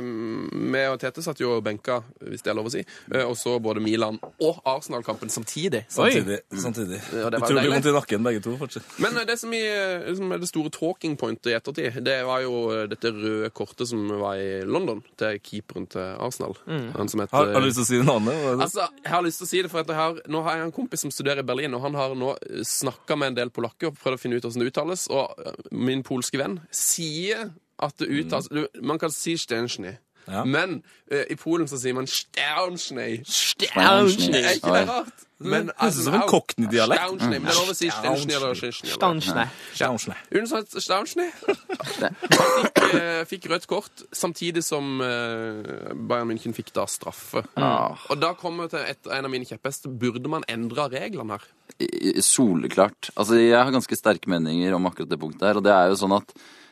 Speaker 3: vi og Tete satt jo og benka, hvis det er lov å si, eh, og så både Milan og Arsenal-kampen samtidig.
Speaker 4: Samtidig. samtidig.
Speaker 3: det var
Speaker 4: Utrolig
Speaker 3: deilig.
Speaker 4: vondt i nakken, begge to. fortsatt.
Speaker 3: Men eh, det som, i, eh, som er det store talking pointet i ettertid, det var jo eh, dette røde kortet som var i London, til keeperen til Arsenal. Han som
Speaker 4: Har,
Speaker 3: heter
Speaker 4: har du lyst til å si det navnet?
Speaker 3: Altså, Jeg har lyst til å si det, for at jeg har, nå har jeg en kompis som studerer i Berlin, og han har nå snakka med en del polakker og prøvd å finne ut hvordan det uttales, og eh, min polske venn sier at det uttales du, Man kan si Stensjny,
Speaker 4: Mm. Ja.
Speaker 3: men eh, i Polen så sier man Stensjny.
Speaker 5: Stensny.
Speaker 3: Er ikke det rart? Men, altså,
Speaker 4: Høres ut som en Mm.
Speaker 3: au.
Speaker 4: Cockney-dialekt.
Speaker 3: Stensjny, Men det er lov å si Stensjny eller Stensjny. eller-
Speaker 6: Stans, nei.
Speaker 4: Stjernsley.
Speaker 3: Unnsatt Staunsny. Han fikk, eh, fikk rødt kort samtidig som eh, Bayern München fikk da straffe.
Speaker 5: Ah.
Speaker 3: Og da kommer jeg til et, en av mine kjepphester. Burde man endre reglene her?
Speaker 5: I- i- Soleklart. Altså, jeg har ganske sterke meninger om akkurat det punktet her, og det er jo sånn at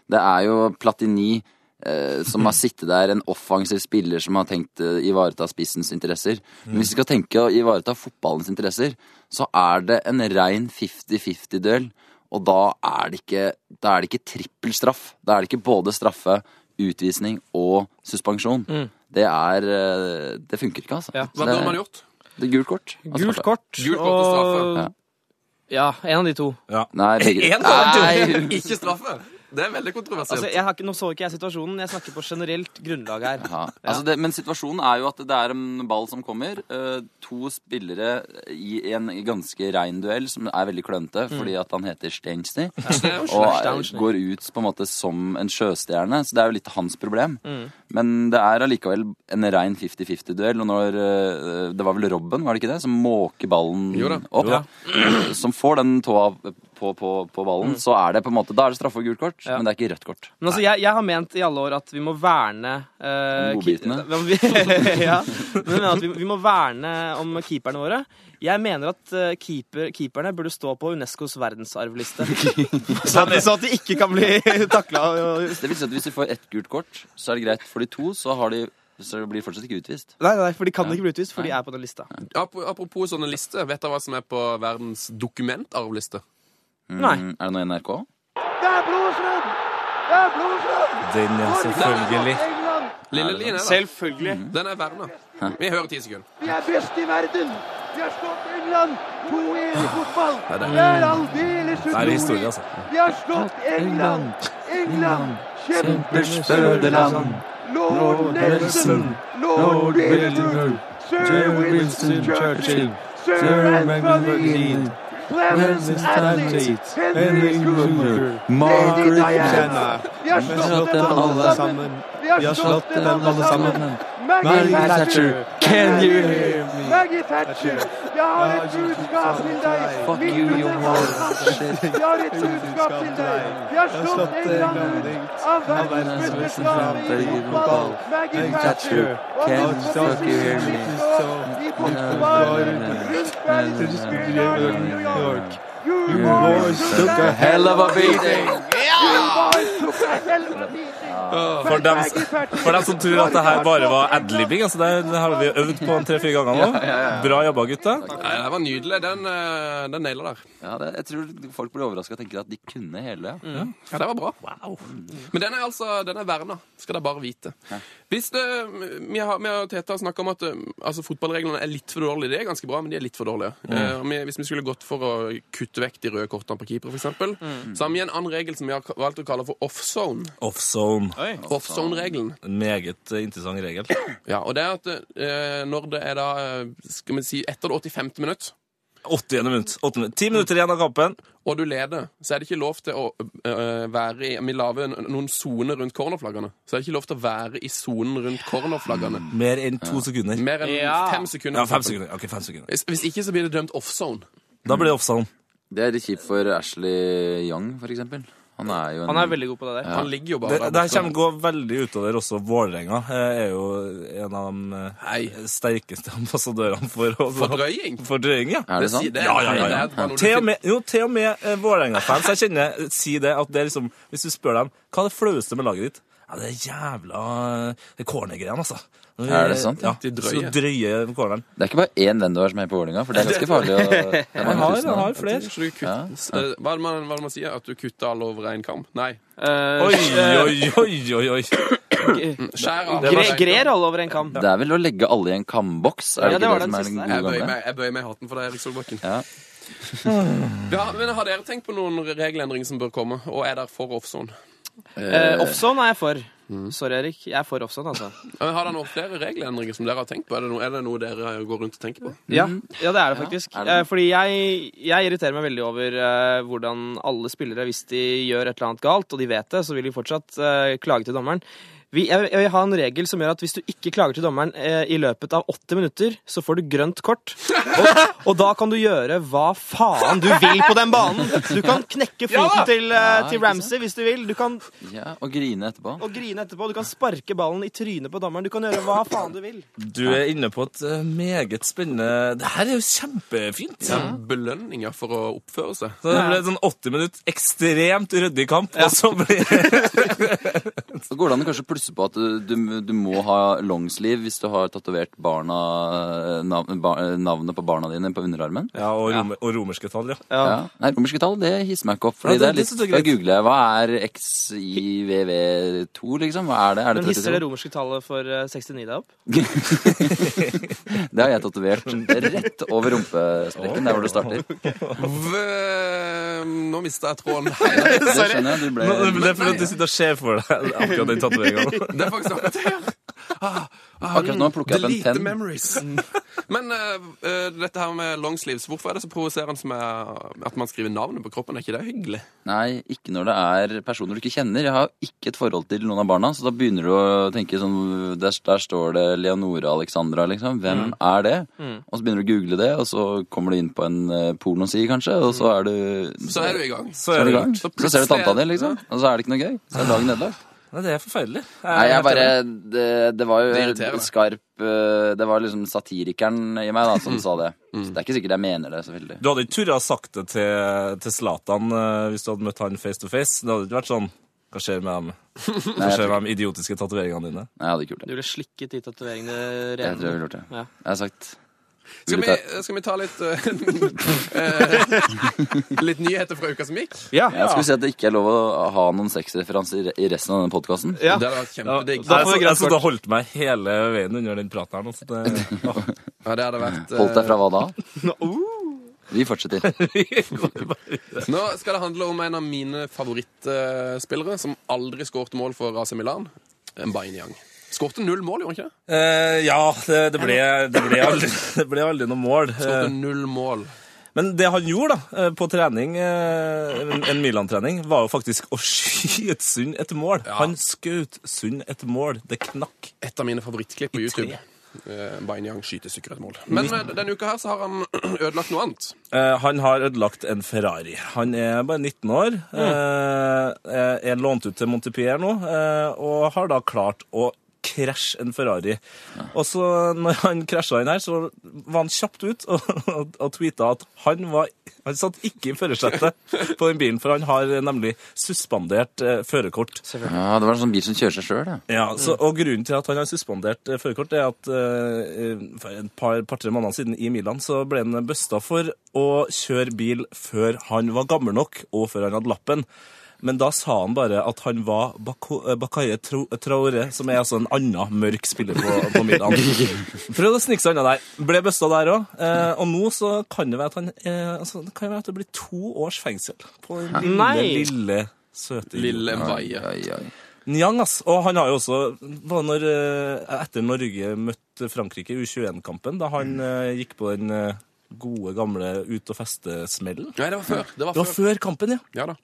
Speaker 5: det er jo Platini eh, som har sittet der, en offensiv spiller som har tenkt å ivareta spissens interesser. Men hvis vi skal tenke å ivareta fotballens interesser, så er det en rein 50-50-duell. Og da er det ikke, da er det ikke trippelstraff. Da er det ikke både straffe, utvisning og suspensjon. Det er eh, Det funker ikke, altså.
Speaker 6: Ja,
Speaker 3: Mm.
Speaker 5: Så
Speaker 3: Hva
Speaker 5: det
Speaker 3: burde
Speaker 5: er-
Speaker 3: man gjort?
Speaker 5: Det er gult kort. Altså, og
Speaker 6: Gult
Speaker 5: straffe.
Speaker 6: kort.
Speaker 3: Gult kort og straffe.
Speaker 6: Ja, en av de to. Altså,
Speaker 5: Nei, begge.
Speaker 3: En av dem
Speaker 5: Nei.
Speaker 3: ikke straffe! Det er veldig kontroversielt.
Speaker 6: Altså, jeg har ikke, nå så ikke jeg situasjonen, jeg snakker på generelt grunnlag her.
Speaker 5: Ja. Altså det, men situasjonen er jo at det er en ball som kommer. eh, to spillere i en ganske rein duell som er veldig klønete
Speaker 3: Mm.
Speaker 5: fordi at han heter Stensny. Og eh,
Speaker 6: Stensny.
Speaker 5: går ut på en måte som en sjøstjerne, så det er jo litt hans problem.
Speaker 3: Mm.
Speaker 5: Men det er allikevel en rein 50-50-duell. Og når eh, Det var vel Robben, var det ikke det? Som måker ballen
Speaker 3: Jo da. Mm.
Speaker 5: opp. Som får den tåa på, på, på ballen. Så er det på en måte Da er det straffe og gult kort, men det er ikke rødt kort.
Speaker 6: Men altså, jeg, jeg har ment i alle år at vi må verne eh,
Speaker 5: Godbitene.
Speaker 6: ki- ja. Men jeg mener at vi, vi må verne om keeperne våre. Jeg mener at eh, keeper, keeperne burde stå på Unescos verdensarvliste. sånn, sånn at de ikke kan bli takla. Nei,
Speaker 5: Det vil si at hvis de får ett gult kort, så er det greit. For de to, så, har de, så blir de fortsatt ikke utvist.
Speaker 6: nei, for de kan ikke bli utvist, for de er på den lista.
Speaker 3: Ap- Apropos sånne lister, vet dere hva som er på verdens dokumentarvliste?
Speaker 6: Nei.
Speaker 5: Mm, Er det noe i NRK?
Speaker 4: Den, ja, selvfølgelig.
Speaker 3: Lille Lien er der.
Speaker 6: Selvfølgelig.
Speaker 3: Den er verna. Vi hører ti sekunder.
Speaker 8: Vi er best i verden! Vi har slått England 2-1 i fotball! Det er aldeles
Speaker 4: Det er historie,
Speaker 8: utrolig!
Speaker 4: altså.
Speaker 8: Vi har slått England! England! Kjempers fødeland! Lord Nelson! Lord Liverpool! Sir Winston Churchill! Sir Anthony Dean! Clemens Attlee! Henry Cooper! Lady Diana! Vi har slått dem alle sammen! Vi har slått dem alle sammen! Maggie Thatcher! Can you hear me? Maggie Thatcher! Jeg har et budskap til deg! Fuck you, your Jeg har et budskap til deg! Vi har slått England ut av verdensmesterskapet i fotball! Maggie Thatcher! Can you hear me? I fotball rundt verdensmesterskapet i New York! You boys took a Oh. hell
Speaker 5: Hell of a beating!
Speaker 4: For dem, for dem som tror at det her bare var adlibbing, altså det, det har vi øvd på en tre-fire ganger nå. Bra jobba, gutta.
Speaker 3: Nei, det var nydelig. Den, eh, den naila der.
Speaker 5: Ja, det, jeg tror folk blir overraska og tenker at de kunne hele. Ja.
Speaker 3: Ja, det var bra. Men den er altså den er verna, skal dere bare vite. Hvis det, Vi har, vi har Teta snakka om at eh, altså, fotballreglene er litt for dårlige. De er ganske bra, men de er litt for dårlige. Eh, og vi, hvis vi skulle gått for å kutte vekk de røde kortene på keepere, f.eks., så har vi en annen regel som vi har ka- valgt å kalle for offzone.
Speaker 4: Offzone.
Speaker 3: Offzone-regelen.
Speaker 4: En meget eh, interessant regel.
Speaker 3: Ja, og det er at eh, når det er da eh, Skal vi si etter det 85. minutt,
Speaker 4: 80. minutt. 80 minutt. 10 minutter igjen av kampen.
Speaker 3: og du leder, så er det ikke lov til å eh, være i Vi lager n- noen soner rundt cornerflaggene. Så er det ikke lov til å være i sonen rundt cornerflaggene.
Speaker 4: Mer enn to sekunder.
Speaker 3: Mer enn
Speaker 6: Ja.
Speaker 3: fem sekunder.
Speaker 4: Ja,
Speaker 3: for
Speaker 4: fem
Speaker 3: eksempel.
Speaker 4: sekunder. Ok, fem sekunder.
Speaker 3: Hvis, hvis ikke, så blir det dømt offzone.
Speaker 4: Da blir det offzone.
Speaker 5: Det er litt kjipt for Ashley Young, for eksempel. Han er jo en
Speaker 6: Han er veldig god på det der.
Speaker 3: Han ligger jo bare
Speaker 4: Det,
Speaker 3: der
Speaker 4: det her
Speaker 3: borte.
Speaker 4: kommer gå veldig utover også Vålerenga. eh, Er jo en av de
Speaker 3: Hei.
Speaker 4: eh, sterkeste ambassadørene for
Speaker 3: Fordrøying?
Speaker 4: Fordrøying, ja.
Speaker 5: Er det
Speaker 3: Si
Speaker 5: sant?
Speaker 3: det.
Speaker 4: Ja, ja, ja,
Speaker 3: Det
Speaker 4: ja.
Speaker 3: er bare noe du
Speaker 4: Til
Speaker 3: finner.
Speaker 4: og med, jo, til og med eh, Vålerenga-fans jeg kjenner, eh, sier det at det er liksom Hvis du spør dem hva er det flaueste med laget ditt, ja, det er jævla eh, Det er cornergreiene, altså.
Speaker 5: Er det sant?
Speaker 4: Ja,
Speaker 3: De drøye.
Speaker 4: Så drøye corneren.
Speaker 5: Det er ikke bare én venn du har som er på Vålerenga, for det er ganske farlig. Å, det er mange
Speaker 4: Jeg har,
Speaker 5: tusen
Speaker 4: jeg
Speaker 5: av
Speaker 4: har
Speaker 5: dem.
Speaker 4: flere.
Speaker 3: Så du kutt-
Speaker 5: Ja.
Speaker 3: s- eh, Hva er det man, hva er det man sier? At du kutter alle over én kam? Nei.
Speaker 6: Eh,
Speaker 4: Oi, oi, oi, oi, oi.
Speaker 3: Mm, Skjær av.
Speaker 6: eh, gre, grer alle over en kam.
Speaker 5: Det er vel å legge alle i en kamboks? Er det
Speaker 6: Ja, det var
Speaker 5: ikke det,
Speaker 6: den
Speaker 5: som
Speaker 6: siste
Speaker 3: Jeg
Speaker 5: er den
Speaker 3: bøyer
Speaker 5: gode gamle?
Speaker 3: meg, jeg bøyer meg i hatten for deg, Erik Solbakken.
Speaker 5: Ja.
Speaker 3: Ja, men har dere tenkt på noen regelendringer som bør komme, og er dere for offzone?
Speaker 6: Eh, offzone er jeg for.
Speaker 5: Mm.
Speaker 6: Sorry, Erik. Jeg er for offzone, altså.
Speaker 3: Ja, men Har dere noen flere regelendringer som dere har tenkt på? Er det noe, er det noe dere går rundt og tenker på?
Speaker 6: Ja, ja det er det faktisk.
Speaker 5: er det det?
Speaker 6: Eh, Fordi jeg, jeg irriterer meg veldig over eh, hvordan alle spillere, hvis de gjør et eller annet galt, og de vet det, så vil de fortsatt eh, klage til dommeren. Vi, jeg, jeg vil ha en regel som gjør at hvis du ikke klager til dommeren eh, i løpet av åtte minutter, så får du grønt kort. Og, og da kan du gjøre hva faen du vil på den banen! Du kan knekke foten til, eh,
Speaker 5: Ja,
Speaker 6: til
Speaker 5: ikke
Speaker 6: Ramsey hvis du vil. Du kan
Speaker 5: Ja, og grine etterpå.
Speaker 6: og grine etterpå. Du kan sparke ballen i trynet på dommeren. Du kan gjøre hva faen du vil.
Speaker 4: Du er inne på et eh, meget spennende Det her er jo kjempefint.
Speaker 3: Belønninger for å oppføre seg.
Speaker 4: Så det ble sånn 80 minutt ekstremt ryddig kamp, og så blir
Speaker 5: Så går det an å kanskje plusse på at uh, du, du må ha longsleeve hvis du har tatovert barna, eh, nav, ba, navnet på barna dine på underarmen.
Speaker 4: Ja, og, romer, og romerske tall, ja.
Speaker 5: Ja. Nei, romerske tall, det hisser meg ikke opp. Fordi
Speaker 4: Ja, det-
Speaker 5: det,
Speaker 4: det
Speaker 5: er
Speaker 4: synes jeg
Speaker 5: litt,
Speaker 4: er
Speaker 5: Da
Speaker 4: greit.
Speaker 5: googler jeg hva er XIVV2, liksom? Hva er det? Er
Speaker 6: Men
Speaker 5: det
Speaker 6: hisser det
Speaker 5: 32?
Speaker 6: romerske tallet for eh, 69 deg opp?
Speaker 5: Det har jeg tatovert rett over rumpesprekken, der hvor det starter.
Speaker 3: V- Nå mista jeg tråden. Hei,
Speaker 5: Det skjønner jeg. Du ble
Speaker 4: Det er fordi at du sitter og ser for deg akkurat den tatoveringa.
Speaker 3: Det er faktisk akkurat det. Ah, ah,
Speaker 5: Akkurat nå plukker jeg opp en
Speaker 3: delete
Speaker 5: penn.
Speaker 3: memories. Men eh, eh, dette her med longsleeves, hvorfor er det så provoserende med at man skriver navnet på kroppen? Er ikke det hyggelig?
Speaker 5: Nei, ikke når det er personer du ikke kjenner. Jeg har ikke et forhold til noen av barna, så da begynner du å tenke sånn Der, der står det Leonora Alexandra, liksom. Hvem
Speaker 3: Mm.
Speaker 5: er det? Og så begynner du å google det, og så kommer du inn på en eh, pornoside, kanskje, og så er du
Speaker 3: Mm. Så er du i gang.
Speaker 4: Så
Speaker 5: så
Speaker 4: er
Speaker 5: er du i
Speaker 4: det
Speaker 5: gang.
Speaker 3: Så
Speaker 5: Så ser du tanta
Speaker 3: plutselig-
Speaker 5: di, liksom. Og så er det ikke noe gøy. Så er dagen ødelagt.
Speaker 4: Nei, det er forferdelig.
Speaker 5: Nei, jeg bare Det, det var jo
Speaker 3: Det irriterer meg.
Speaker 5: skarp eh, Det var liksom satirikeren i meg da
Speaker 3: Mm.
Speaker 5: som sa det. Så det er ikke sikkert jeg mener det så veldig.
Speaker 4: Du hadde ikke turra sagt det til, til Zlatan eh, hvis du hadde møtt han face to face. Det hadde ikke vært sånn Hva skjer med de, hva
Speaker 5: Nei, jeg
Speaker 4: skjer
Speaker 5: tror,
Speaker 4: med de idiotiske tatoveringene dine?
Speaker 5: nei, jeg hadde ikke gjort
Speaker 6: Du
Speaker 5: det.
Speaker 6: ville slikket de tatoveringene
Speaker 5: Jeg tror jeg
Speaker 6: rene.
Speaker 5: ville gjort det.
Speaker 6: Ja.
Speaker 5: Jeg har sagt
Speaker 3: Skal vi,
Speaker 5: Ulike-
Speaker 3: skal vi ta litt eh, eh, Litt nyheter fra uka som gikk?
Speaker 6: Ja,
Speaker 5: Jeg skulle si at det ikke er lov å ha noen sexreferanser i resten av denne podkasten.
Speaker 6: Ja.
Speaker 3: Det hadde vært kjempedigg.
Speaker 6: Da
Speaker 4: Jeg
Speaker 6: får vi
Speaker 4: så- jeg
Speaker 6: grønt
Speaker 4: så det
Speaker 6: kort.
Speaker 4: holdt meg hele veien under den praten her nå. Så det, Åh.
Speaker 3: Ja, det hadde vært, eh,
Speaker 5: Holdt deg fra hva da?
Speaker 4: eh, uh.
Speaker 5: Vi fortsetter.
Speaker 3: Nå skal det handle om en av mine favorittspillere som aldri skåret mål for AC Milan. Mbainyang. Skårte null mål, gjorde han ikke det?
Speaker 4: Eh, ja, det, det, ble, det, ble aldri, det ble aldri noe mål. Eh,
Speaker 3: Skårte null mål.
Speaker 4: Men det han gjorde da, eh, på trening, eh, en en Milan-trening, var jo faktisk å skyte Sund et mål. Han skjøt Sund et mål. Det knakk.
Speaker 3: et av mine favorittklipp på
Speaker 4: I
Speaker 3: YouTube. Eh, Bainyang skyter sikkert et mål. Men eh, denne uka her så har han ødelagt noe annet.
Speaker 4: Eh, han har ødelagt en Ferrari. Han er bare 19 år, eh, er lånt ut til Montepierre nå, eh, og har da klart å krasje en Ferrari. Og så når han krasja inn her, så var han kjapt ut og, og, og tweeta at han var Han satt ikke i førersetet på den bilen, for han har nemlig suspendert eh, førerkort.
Speaker 5: Ja, det var en sånn bil som kjører seg sjøl, ja.
Speaker 4: Ja, så, og Grunnen til at han har suspendert eh, førerkort, er at eh, for et par-tre måneder siden i Milan så ble han busta for å kjøre bil før han var gammel nok, og før han hadde lappen. Men da sa han bare at han var Bako- eh, Bakaye Tro- Traore, som er altså en annen mørk spiller på, på Milan. Prøvde å snike seg unna der. Ble busta der òg. Eh, og nå så kan det være at han eh, altså, det kan jo være at det blir to års fengsel på den lille,
Speaker 6: Nei.
Speaker 4: lille søte
Speaker 3: Lille
Speaker 5: Oi,
Speaker 3: Mbaye.
Speaker 5: oi.
Speaker 4: Nyang, ass. Og han har jo også var når, eh, Etter Norge møtte Frankrike i U21-kampen, da han eh, gikk på den eh, gode, gamle ut- og feste-smellen
Speaker 3: Nei, det var før. Det var
Speaker 4: Det var
Speaker 3: før.
Speaker 4: før kampen, ja.
Speaker 3: Ja da.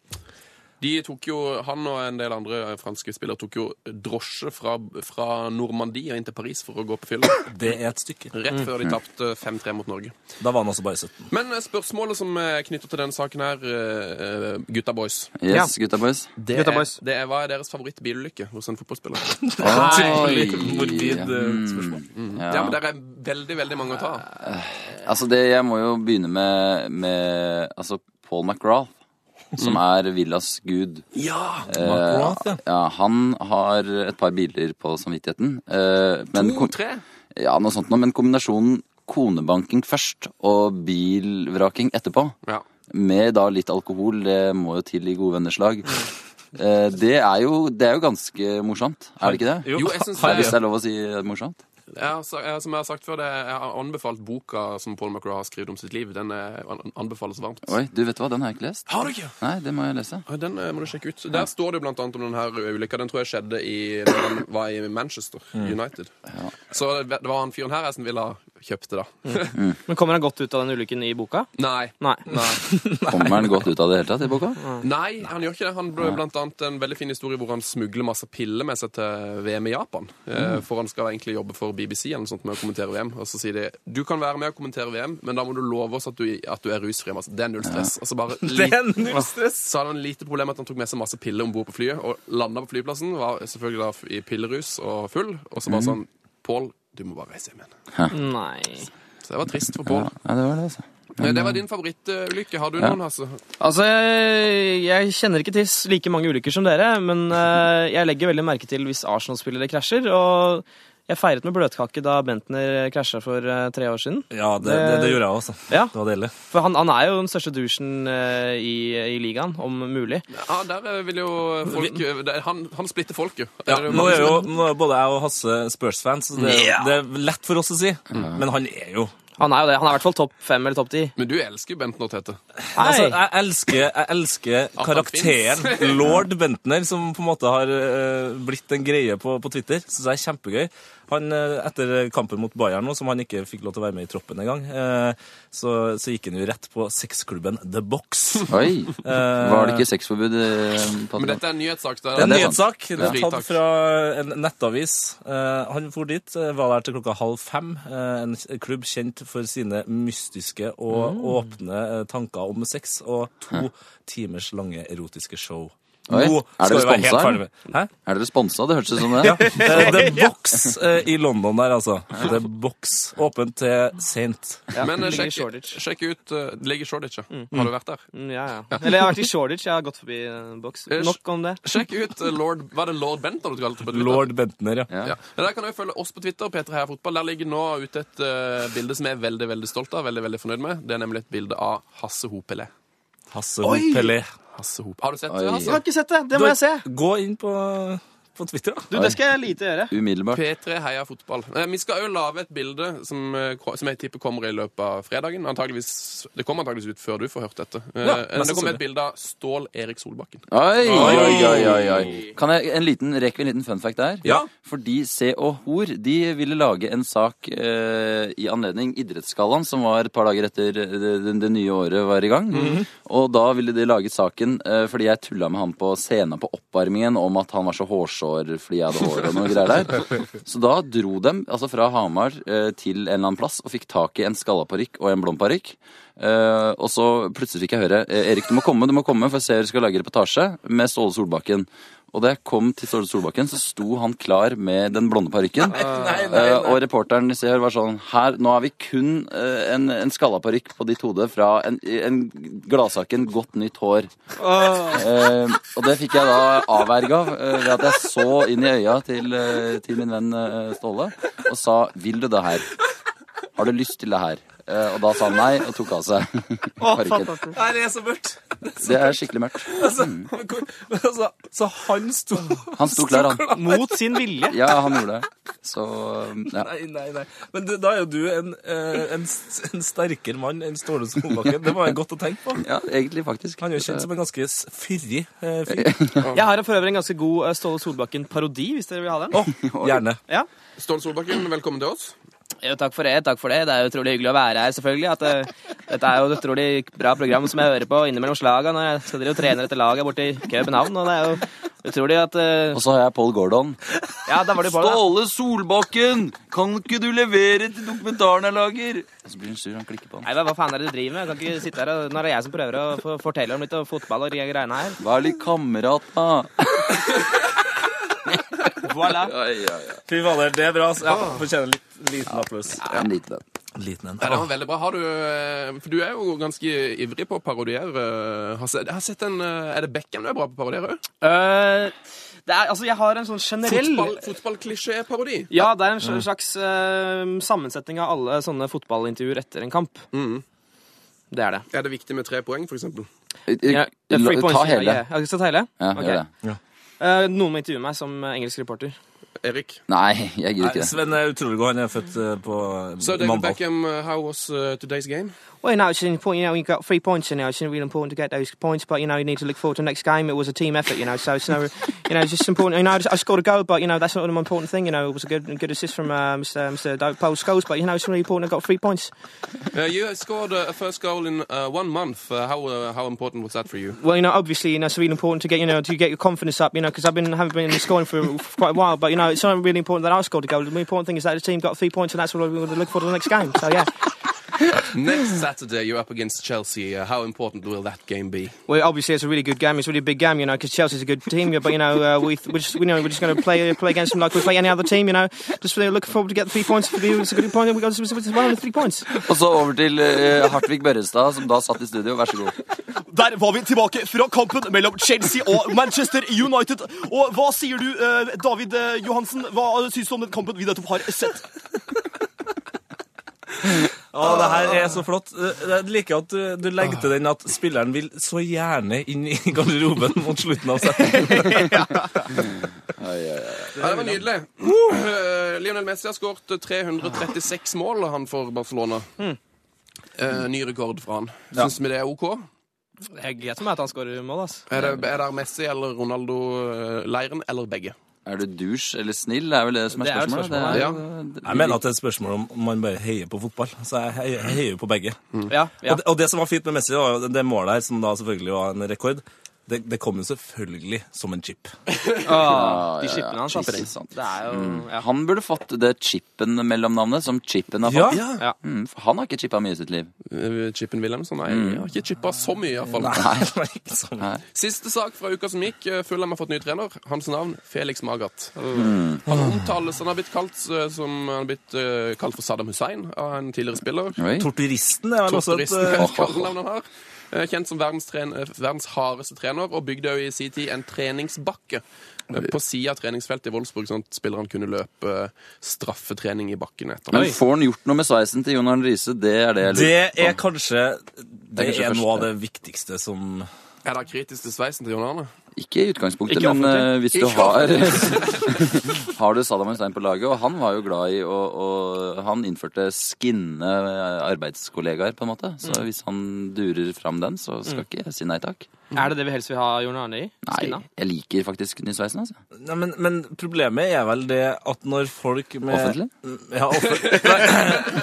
Speaker 3: De tok jo, Han og en del andre eh, franske spillere tok jo drosje fra, fra Normandie inn til Paris for å gå på fylla.
Speaker 4: Det er et stykke.
Speaker 3: Rett før
Speaker 4: Mm.
Speaker 3: de tapte 5-3 mot Norge.
Speaker 4: Da var han altså bare 17.
Speaker 3: Men eh, spørsmålet som er knytta til denne saken her, eh, eh, gutta boys
Speaker 5: Yes, gutta boys.
Speaker 3: det
Speaker 6: Gutta
Speaker 3: er,
Speaker 6: boys.
Speaker 3: det er, Hva er deres favorittbilulykke hos en fotballspiller?
Speaker 5: Oi. Mm. Mm-hmm.
Speaker 4: Litt morbid eh, spørsmål.
Speaker 3: Ja, men Der er veldig veldig mange å ta. av.
Speaker 5: Altså, det, jeg må jo begynne med, med altså Paul McGrath, som er Villas gud. Eh,
Speaker 3: Ja!
Speaker 4: Macroath, Mm. ja.
Speaker 5: Ja, han har et par biler på samvittigheten. eh, men kom-
Speaker 3: To-tre.
Speaker 5: Ja, noe sånt noe, men kombinasjonen konebanking først og bilvraking etterpå,
Speaker 3: Ja.
Speaker 5: med da litt alkohol, det må jo til i gode venners lag. Eh, Det er jo, det er jo ganske morsomt, er det ikke det?
Speaker 3: Jo, jeg synes eh,
Speaker 5: Hvis
Speaker 3: det
Speaker 5: det er lov å si eh, morsomt.
Speaker 3: Jeg har, sa- jeg, eh, som jeg har sagt før, det, jeg har anbefalt boka som Paul McRae har skrevet om sitt liv. Den er, an- anbefales varmt.
Speaker 5: Oi, du vet hva, den har jeg ikke lest.
Speaker 3: Har du ikke?
Speaker 5: Nei, det må jeg lese.
Speaker 3: Ja, Den eh, må du sjekke ut. Der står det jo blant annet om denne ulykka. Den tror jeg skjedde i, da den var i Manchester
Speaker 6: Mm.
Speaker 3: United. Så det det var han fyren her jeg som ville ha kjøpt det, da.
Speaker 6: Men kommer han godt ut av den ulykken i boka?
Speaker 3: Nei.
Speaker 6: Mm. Nei.
Speaker 3: Nei.
Speaker 5: Kommer den godt ut av det hele tatt i boka?
Speaker 3: Nei, han gjør ikke det. Han ble blant annet en veldig fin historie hvor han smugler masse piller med seg til VM i Japan. Eh, For han skal egentlig jobbe for BBC eller noe sånt med å kommentere VM. Og så sier de du kan være med å kommentere VM, men da må du love oss at du, at du er rusfri. Mats. Det er null stress. Og så bare
Speaker 4: Det
Speaker 3: lite,
Speaker 4: er null stress.
Speaker 3: så hadde han lite problem med at han tok med seg masse piller om bord på flyet, og landa på flyplassen, var selvfølgelig da i pillerus og full, og så bare sånn Pål, du må bare reise hjem igjen.
Speaker 6: Nei.
Speaker 3: Så det var trist for Pål.
Speaker 5: Ja, det var det, altså.
Speaker 3: Det var din favorittulykke. Har du
Speaker 5: Ja.
Speaker 3: noen, Hasse?
Speaker 6: Altså, jeg, jeg kjenner ikke til s- like mange ulykker som dere, men eh, jeg legger veldig merke til hvis Arsenal-spillere krasjer, og jeg feiret med bløtkake da Bentner krasja for eh, tre år siden.
Speaker 4: Ja, det, det, det gjorde jeg også.
Speaker 6: Ja,
Speaker 4: Det var deilig.
Speaker 6: For han, han er jo den største douchen eh, i, i ligaen, om mulig.
Speaker 3: Ja, der eh, vil jo folk der, han, han splitter folket.
Speaker 4: Ja,
Speaker 3: Er det
Speaker 4: nå
Speaker 3: mange
Speaker 4: er jo
Speaker 3: som-
Speaker 4: nå er både jeg og Hasse Spurs-fans, så det, er jo- det er lett for oss å si. Men han er jo
Speaker 6: Han er jo det. Han er i hvert fall topp fem eller topp ti.
Speaker 3: Men du elsker jo Bentner Tete.
Speaker 6: Nei,
Speaker 4: Altså, jeg elsker, jeg elsker
Speaker 3: han
Speaker 4: karakteren lord Bentner, som på en måte har eh, blitt en greie på, på Twitter. Syns jeg er kjempegøy. Han, eh, etter kampen mot Bayern, nå, som han ikke fikk lov til å være med i troppen engang, uh, så, så gikk han jo rett på sexklubben The Box.
Speaker 5: Oi!
Speaker 4: Eh,
Speaker 5: Var det ikke sexforbud? eh, på
Speaker 3: Men
Speaker 5: Adrian?
Speaker 3: dette er en nyhetssak.
Speaker 4: Det er
Speaker 3: Der.
Speaker 4: en
Speaker 5: det er sant.
Speaker 4: nyhetssak. Det er
Speaker 3: Ja.
Speaker 4: tatt fra en nettavis. Eh, han for dit, eh, var der til klokka halv fem. eh, en k- klubb kjent for sine mystiske og
Speaker 5: Mm.
Speaker 4: åpne eh, tanker om sex og to timers lange erotiske show.
Speaker 5: Oi, er
Speaker 4: skal
Speaker 5: dere
Speaker 4: vi være helt
Speaker 5: sponsa,
Speaker 4: ferdig med- Hæ?
Speaker 5: Er dere sponsa? Det hørtes ut som det.
Speaker 4: Eh, The Box eh, i London der, altså. The Box. Åpent til sent.
Speaker 6: ja,
Speaker 3: Men eh,
Speaker 6: ligger i
Speaker 3: sjekk,
Speaker 6: Shoreditch.
Speaker 3: sjekk ut eh, Det ligger i Shoreditch, ja. Har du vært der?
Speaker 6: Mm, Ja, ja. Eller jeg har vært i Shoreditch. Jeg har gått forbi eh, boks.
Speaker 3: Ish.
Speaker 6: Nok om det.
Speaker 3: Sjekk ut eh, lord Var det lord Bentner du kalte det på Twitter?
Speaker 4: Lord Bentner, ja.
Speaker 3: Ja. Men Der kan du jo følge oss på Twitter. Peter Heia Fotball. Der ligger nå ute et eh, bilde som jeg er veldig veldig stolt av. veldig, veldig fornøyd med. Det er nemlig et bilde av Hasse Hopele.
Speaker 4: Hasse Hopelé.
Speaker 3: Hasse Hop. Har du sett det,
Speaker 5: Oi.
Speaker 6: Jeg
Speaker 3: Hasse?
Speaker 6: har ikke sett det. Det må jeg se.
Speaker 4: Gå inn på, på Twitter, da.
Speaker 6: Du, det skal jeg lite gjøre.
Speaker 5: Umiddelbart.
Speaker 3: P3 Heia Fotball. Eh, Vi skal jo lage et bilde som, eh, ko- som jeg tipper kommer i løpet av fredagen. Antageligvis, det kommer antageligvis ut før du får hørt dette. Eh,
Speaker 4: Ja,
Speaker 3: men det
Speaker 4: mest
Speaker 3: kommer
Speaker 4: sannsynlig.
Speaker 3: et bilde av Stål Erik Solbakken.
Speaker 5: Oi, oi, oi, oi, oi. Kan jeg en liten, rekke en liten fun fact der?
Speaker 4: Ja.
Speaker 5: Fordi Se og Hor de ville lage en sak eh, i anledning Idrettsgallaen, som var et par dager etter eh, det, det, det nye året var i gang. Og da ville de lage saken eh, fordi jeg tulla med han på scenen på oppvarmingen om at han var så hårsår fordi jeg hadde hår og noe greier der. Så da dro dem altså fra Hamar eh, til en eller annen plass og fikk tak i en skalla parykk og en blond parykk. Eh, og så plutselig fikk jeg høre eh, Erik, du må komme, du må komme, for jeg ser du skal lage reportasje med Ståle Solbakken. Og da jeg kom til Ståle Solbakken, så sto han klar med den blonde parykken. Eh, og reporteren i Se og Hør var sånn Her, nå har vi kun eh, en, en skalla parykk på ditt hode fra en, en gladsaken, godt nytt hår. Eh, og det fikk jeg da avverga eh, ved at jeg så inn i øya til, eh, til min venn eh, Ståle og sa Vil du det her? Har du lyst til det her? Eh, og da sa han nei og tok av seg parykken.
Speaker 4: Nei, det er så mørkt.
Speaker 5: Det er skikkelig mørkt.
Speaker 4: Altså, altså, så han sto
Speaker 5: Mm. Han sto klar, han.
Speaker 6: Mot sin vilje.
Speaker 5: Ja, han gjorde det. Så eh, ja.
Speaker 4: Nei, nei, nei. Men det, da er jo du en, eh, en, s- en sterkere mann enn Ståle Solbakken. Det var jo godt å tenke på.
Speaker 5: ja, egentlig, faktisk.
Speaker 4: Han er jo kjent som en ganske s- fyrig eh, fyr.
Speaker 6: Jeg har for øvrig en ganske god eh, Ståle Solbakken-parodi, hvis dere vil ha den.
Speaker 4: Å, gjerne.
Speaker 6: Ja.
Speaker 3: Ståle Solbakken, velkommen til oss.
Speaker 6: Jo, takk for det. takk for Det Det er jo utrolig hyggelig å være her, selvfølgelig. At, eh, dette er jo et utrolig bra program som jeg hører på innimellom slaga. Når jeg skal drive og trene dette laget borte i København. Og det er jo utrolig at eh,
Speaker 5: Og så har jeg Paul Gordon.
Speaker 6: Ja, der var du på det. da.
Speaker 5: Ståle Solbakken! Kan ikke du levere til dokumentaren jeg lager? Og så blir han sur. Han klikker på han.
Speaker 6: Nei, hva, hva faen er det du driver med? Jeg kan ikke sitte her og, Når det er jeg som prøver å få- fortelle om litt av fotball og de greiene her.
Speaker 5: Vær litt kamerat, da.
Speaker 6: Voilà.
Speaker 5: Ja, ja, ja.
Speaker 4: Fy fader, det er bra. ass.
Speaker 5: Ah.
Speaker 4: Ja, Fortjener litt liten applaus.
Speaker 5: En liten en.
Speaker 4: Liten en.
Speaker 3: Ja, det var veldig bra. Har du, eh, for du er jo ganske ivrig på å parodiere. eh, Hasse. Jeg har sett en, eh, Er det Beckham du er bra på å parodiere?
Speaker 6: Eh, det er, altså, jeg har en sånn generell
Speaker 3: Fotball- Fotballklisjé-parodi.
Speaker 6: Ja, det er en sl- slags eh, sammensetning av alle sånne fotballintervjuer etter en kamp. Det er det.
Speaker 3: er det viktig med tre poeng, for eksempel?
Speaker 6: Ja, det er free points.
Speaker 5: Ta hele.
Speaker 6: Ja, skal jeg ta hele?
Speaker 5: Ja,
Speaker 6: Ok.
Speaker 5: gjør det.
Speaker 6: Eh, noen må intervjue meg som eh, engelsk reporter.
Speaker 3: Erik?
Speaker 5: Nei, jeg gidder
Speaker 4: Nei,
Speaker 5: ikke det.
Speaker 4: Sven er utrolig god. Han er født eh, på
Speaker 3: So, David
Speaker 4: mandag.
Speaker 3: Beckham, uh, how was uh, today's game?
Speaker 6: Well, you know, it's important, you know, you got three points, you know, it's really important to get those points, but, you know, you need to look forward to the next game. It was a team effort, you know, so it's no, you know, it's just important. You know, I scored a goal, but, you know, that's not an important thing, you know, it was a good good assist from uh, Mr. Mr. Do- Paul Scholes, but, you know, it's really important I got three points.
Speaker 3: Uh, you scored uh, a first goal in uh, one month. Uh, how, uh, how important was that for you?
Speaker 6: Well, you know, obviously, you know, it's really important to get, you know, to get your confidence up, you know, because I've been haven't been scoring for, for quite a while. But you know, it's not really important that I scored a goal. The important thing is that the team got three points, and that's what we're going to look for to the next game. So yeah,
Speaker 3: Next Saturday, you're up against Chelsea. Uh, how important will that game be?
Speaker 6: Well, obviously it's a really good game. It's a really big game, you know, because Chelsea's a good team. But you know, uh, we we just we know we're just going to play uh, play against them like we play any other team. You know, just really looking forward to get the three points. For the, it's a good point. We got it's one of the three points.
Speaker 5: Og så over til eh, Hartvig Børrestad, som da satt i studio. Vær så god.
Speaker 9: Der var vi tilbake fra kampen mellom Chelsea og Manchester United. Og hva sier du, eh, David eh, Johansen? Hva syns du om den kampen vi nettopp har sett?
Speaker 4: Å, det her er så flott. Eh, Jeg liker at du, du legger
Speaker 5: Ah.
Speaker 4: til den at spilleren vil så gjerne inn i garderoben mot slutten av setningen.
Speaker 3: Ja, det var nydelig. Eh, Lionel Messi har skåret 336 mål uh, han for Barcelona. Eh, ny rekord fra han. Syns vi det er OK?
Speaker 6: Det er greit for meg at han skårer mål, ass.
Speaker 3: Er det, er det Messi eller Ronaldo-leiren, eller begge?
Speaker 5: Er du douche eller snill? Det er vel det som er
Speaker 6: Det er jo et
Speaker 5: spørsmålet. Det
Speaker 6: spørsmål,
Speaker 5: er
Speaker 3: ja.
Speaker 5: jo-
Speaker 4: Jeg mener at det er et spørsmål om man bare heier på fotball. Så jeg heier, jeg heier på begge.
Speaker 6: Ja, ja.
Speaker 4: Og, det, og det som var fint med Messi, var jo det målet her, som da selvfølgelig var en rekord. Det, det kom jo selvfølgelig som en chip.
Speaker 6: Åh,
Speaker 5: ja,
Speaker 6: de slippene hans, ass.
Speaker 5: Ikke sant.
Speaker 6: Det er jo ja.
Speaker 5: Han burde fått det chipen-mellomnavnet som chipen har fått.
Speaker 4: Ja.
Speaker 5: Mm, for han har ikke chippa mye i sitt liv.
Speaker 3: Eh, Chippen Wilhelmsen? Nei, jeg har ikke chippa så mye, iallfall.
Speaker 4: Nei, ikke sånn.
Speaker 3: Siste sak fra uka som gikk. eh, Fulham har fått ny trener. Hans navn Felix Magath. Uh, Han omtales Han har blitt kalt eh, som Han har blitt eh, kalt for Saddam Hussein av en tidligere spiller.
Speaker 5: Oi.
Speaker 4: Torturisten er vel også et
Speaker 3: Torturisten,
Speaker 4: eh,
Speaker 3: kallenavn han har. Eh, Kjent som verdens, tren eh, verdens hardeste trener, og bygde jo i sin tid en treningsbakke eh, på sida av treningsfeltet i Wolfsburg, sånn at spillerne kunne løpe eh, straffetrening i bakken etter.
Speaker 5: Men får han gjort noe med sveisen til Jon Arne Riise? Det er det jeg lurer
Speaker 4: Det er kanskje eh, Det
Speaker 5: kanskje
Speaker 4: er
Speaker 5: først,
Speaker 4: noe av
Speaker 5: ja.
Speaker 4: det viktigste som
Speaker 3: Er det kritisk til sveisen til John Arne?
Speaker 5: Ikke i utgangspunktet,
Speaker 6: Ikke
Speaker 5: men
Speaker 6: offentlig.
Speaker 5: eh, hvis du
Speaker 3: Ikke
Speaker 5: har Har du Saddam Hussein på laget, og han var jo glad i å å- Han innførte skinne eh, arbeidskollegaer, på en måte. Så hvis han durer fram den, så skal ikke jeg si nei takk.
Speaker 6: Er det det vi helst vil ha Jorn Arne i?
Speaker 5: Nei,
Speaker 6: Skinna?
Speaker 5: jeg liker faktisk nysveisen, altså.
Speaker 4: Nei, men, men problemet er vel det at når folk med
Speaker 5: Offentlig?
Speaker 4: Ja, offentlig. Nei,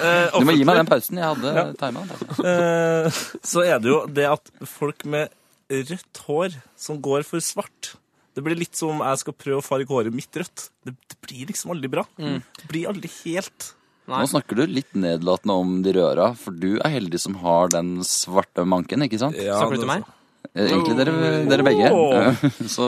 Speaker 4: eh,
Speaker 5: Du må gi
Speaker 4: offentlig,
Speaker 5: meg den pausen jeg hadde altså. ja. tima.
Speaker 4: eh, Så er det jo det at folk med rødt hår som går for svart det blir litt som om jeg skal prøve å farge håret mitt rødt. Det, det blir liksom aldri bra. Det blir aldri helt
Speaker 5: Nå snakker du litt nedlatende om de røra, for du er heldig som har den svarte manken, ikke sant?
Speaker 6: Snakker du til meg?
Speaker 5: Eh, Egentlig dere, dere begge.
Speaker 4: Åh.
Speaker 5: Så,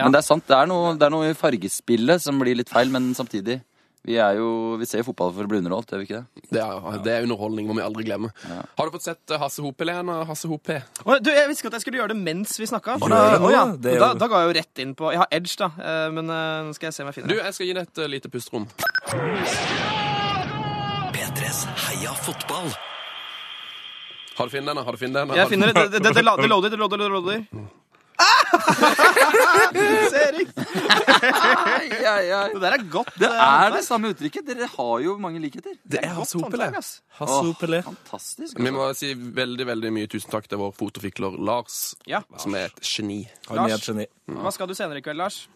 Speaker 5: men det er sant, det er, noe, det er noe i fargespillet som blir litt feil, men samtidig Vi, er jo, vi ser jo fotball for å bli underholdt, gjør vi ikke det?
Speaker 3: Det er, det er underholdning, må vi aldri glemme. Har du fått sett eh, Hasse Hope, Lena? Hasse Hope?
Speaker 6: Å, Du, jeg visste ikke at jeg skulle gjøre det mens vi snakka.
Speaker 4: Gjør det nå, ja. Det er
Speaker 6: Da,
Speaker 4: jo-
Speaker 6: da ga jeg jo rett inn på Jeg har edge, da, eh, men eh, nå skal jeg se om jeg
Speaker 3: Du,
Speaker 6: finner det.
Speaker 3: jeg skal gi deg et eh, lite pusterom.
Speaker 2: P3s Heia fotball.
Speaker 3: Har du funnet denne? Har du funnet denne?
Speaker 6: Jeg finner det. Det, det, det, la- det loader, det loader, det loader. Ah! Se, Erik. Det der er godt. eh,
Speaker 5: Det er det samme uttrykket! Dere har jo mange likheter.
Speaker 3: Det er Hasse Hope,
Speaker 6: håndlag,
Speaker 3: eller?
Speaker 6: ass.
Speaker 4: Hasse Hopelé.
Speaker 5: Fantastisk.
Speaker 3: Vi
Speaker 5: Altså.
Speaker 3: må si veldig veldig mye tusen takk til vår fotofikler Lars,
Speaker 6: Ja.
Speaker 3: som er et geni.
Speaker 4: Han er et geni.
Speaker 6: Hva skal du senere i kveld, Lars?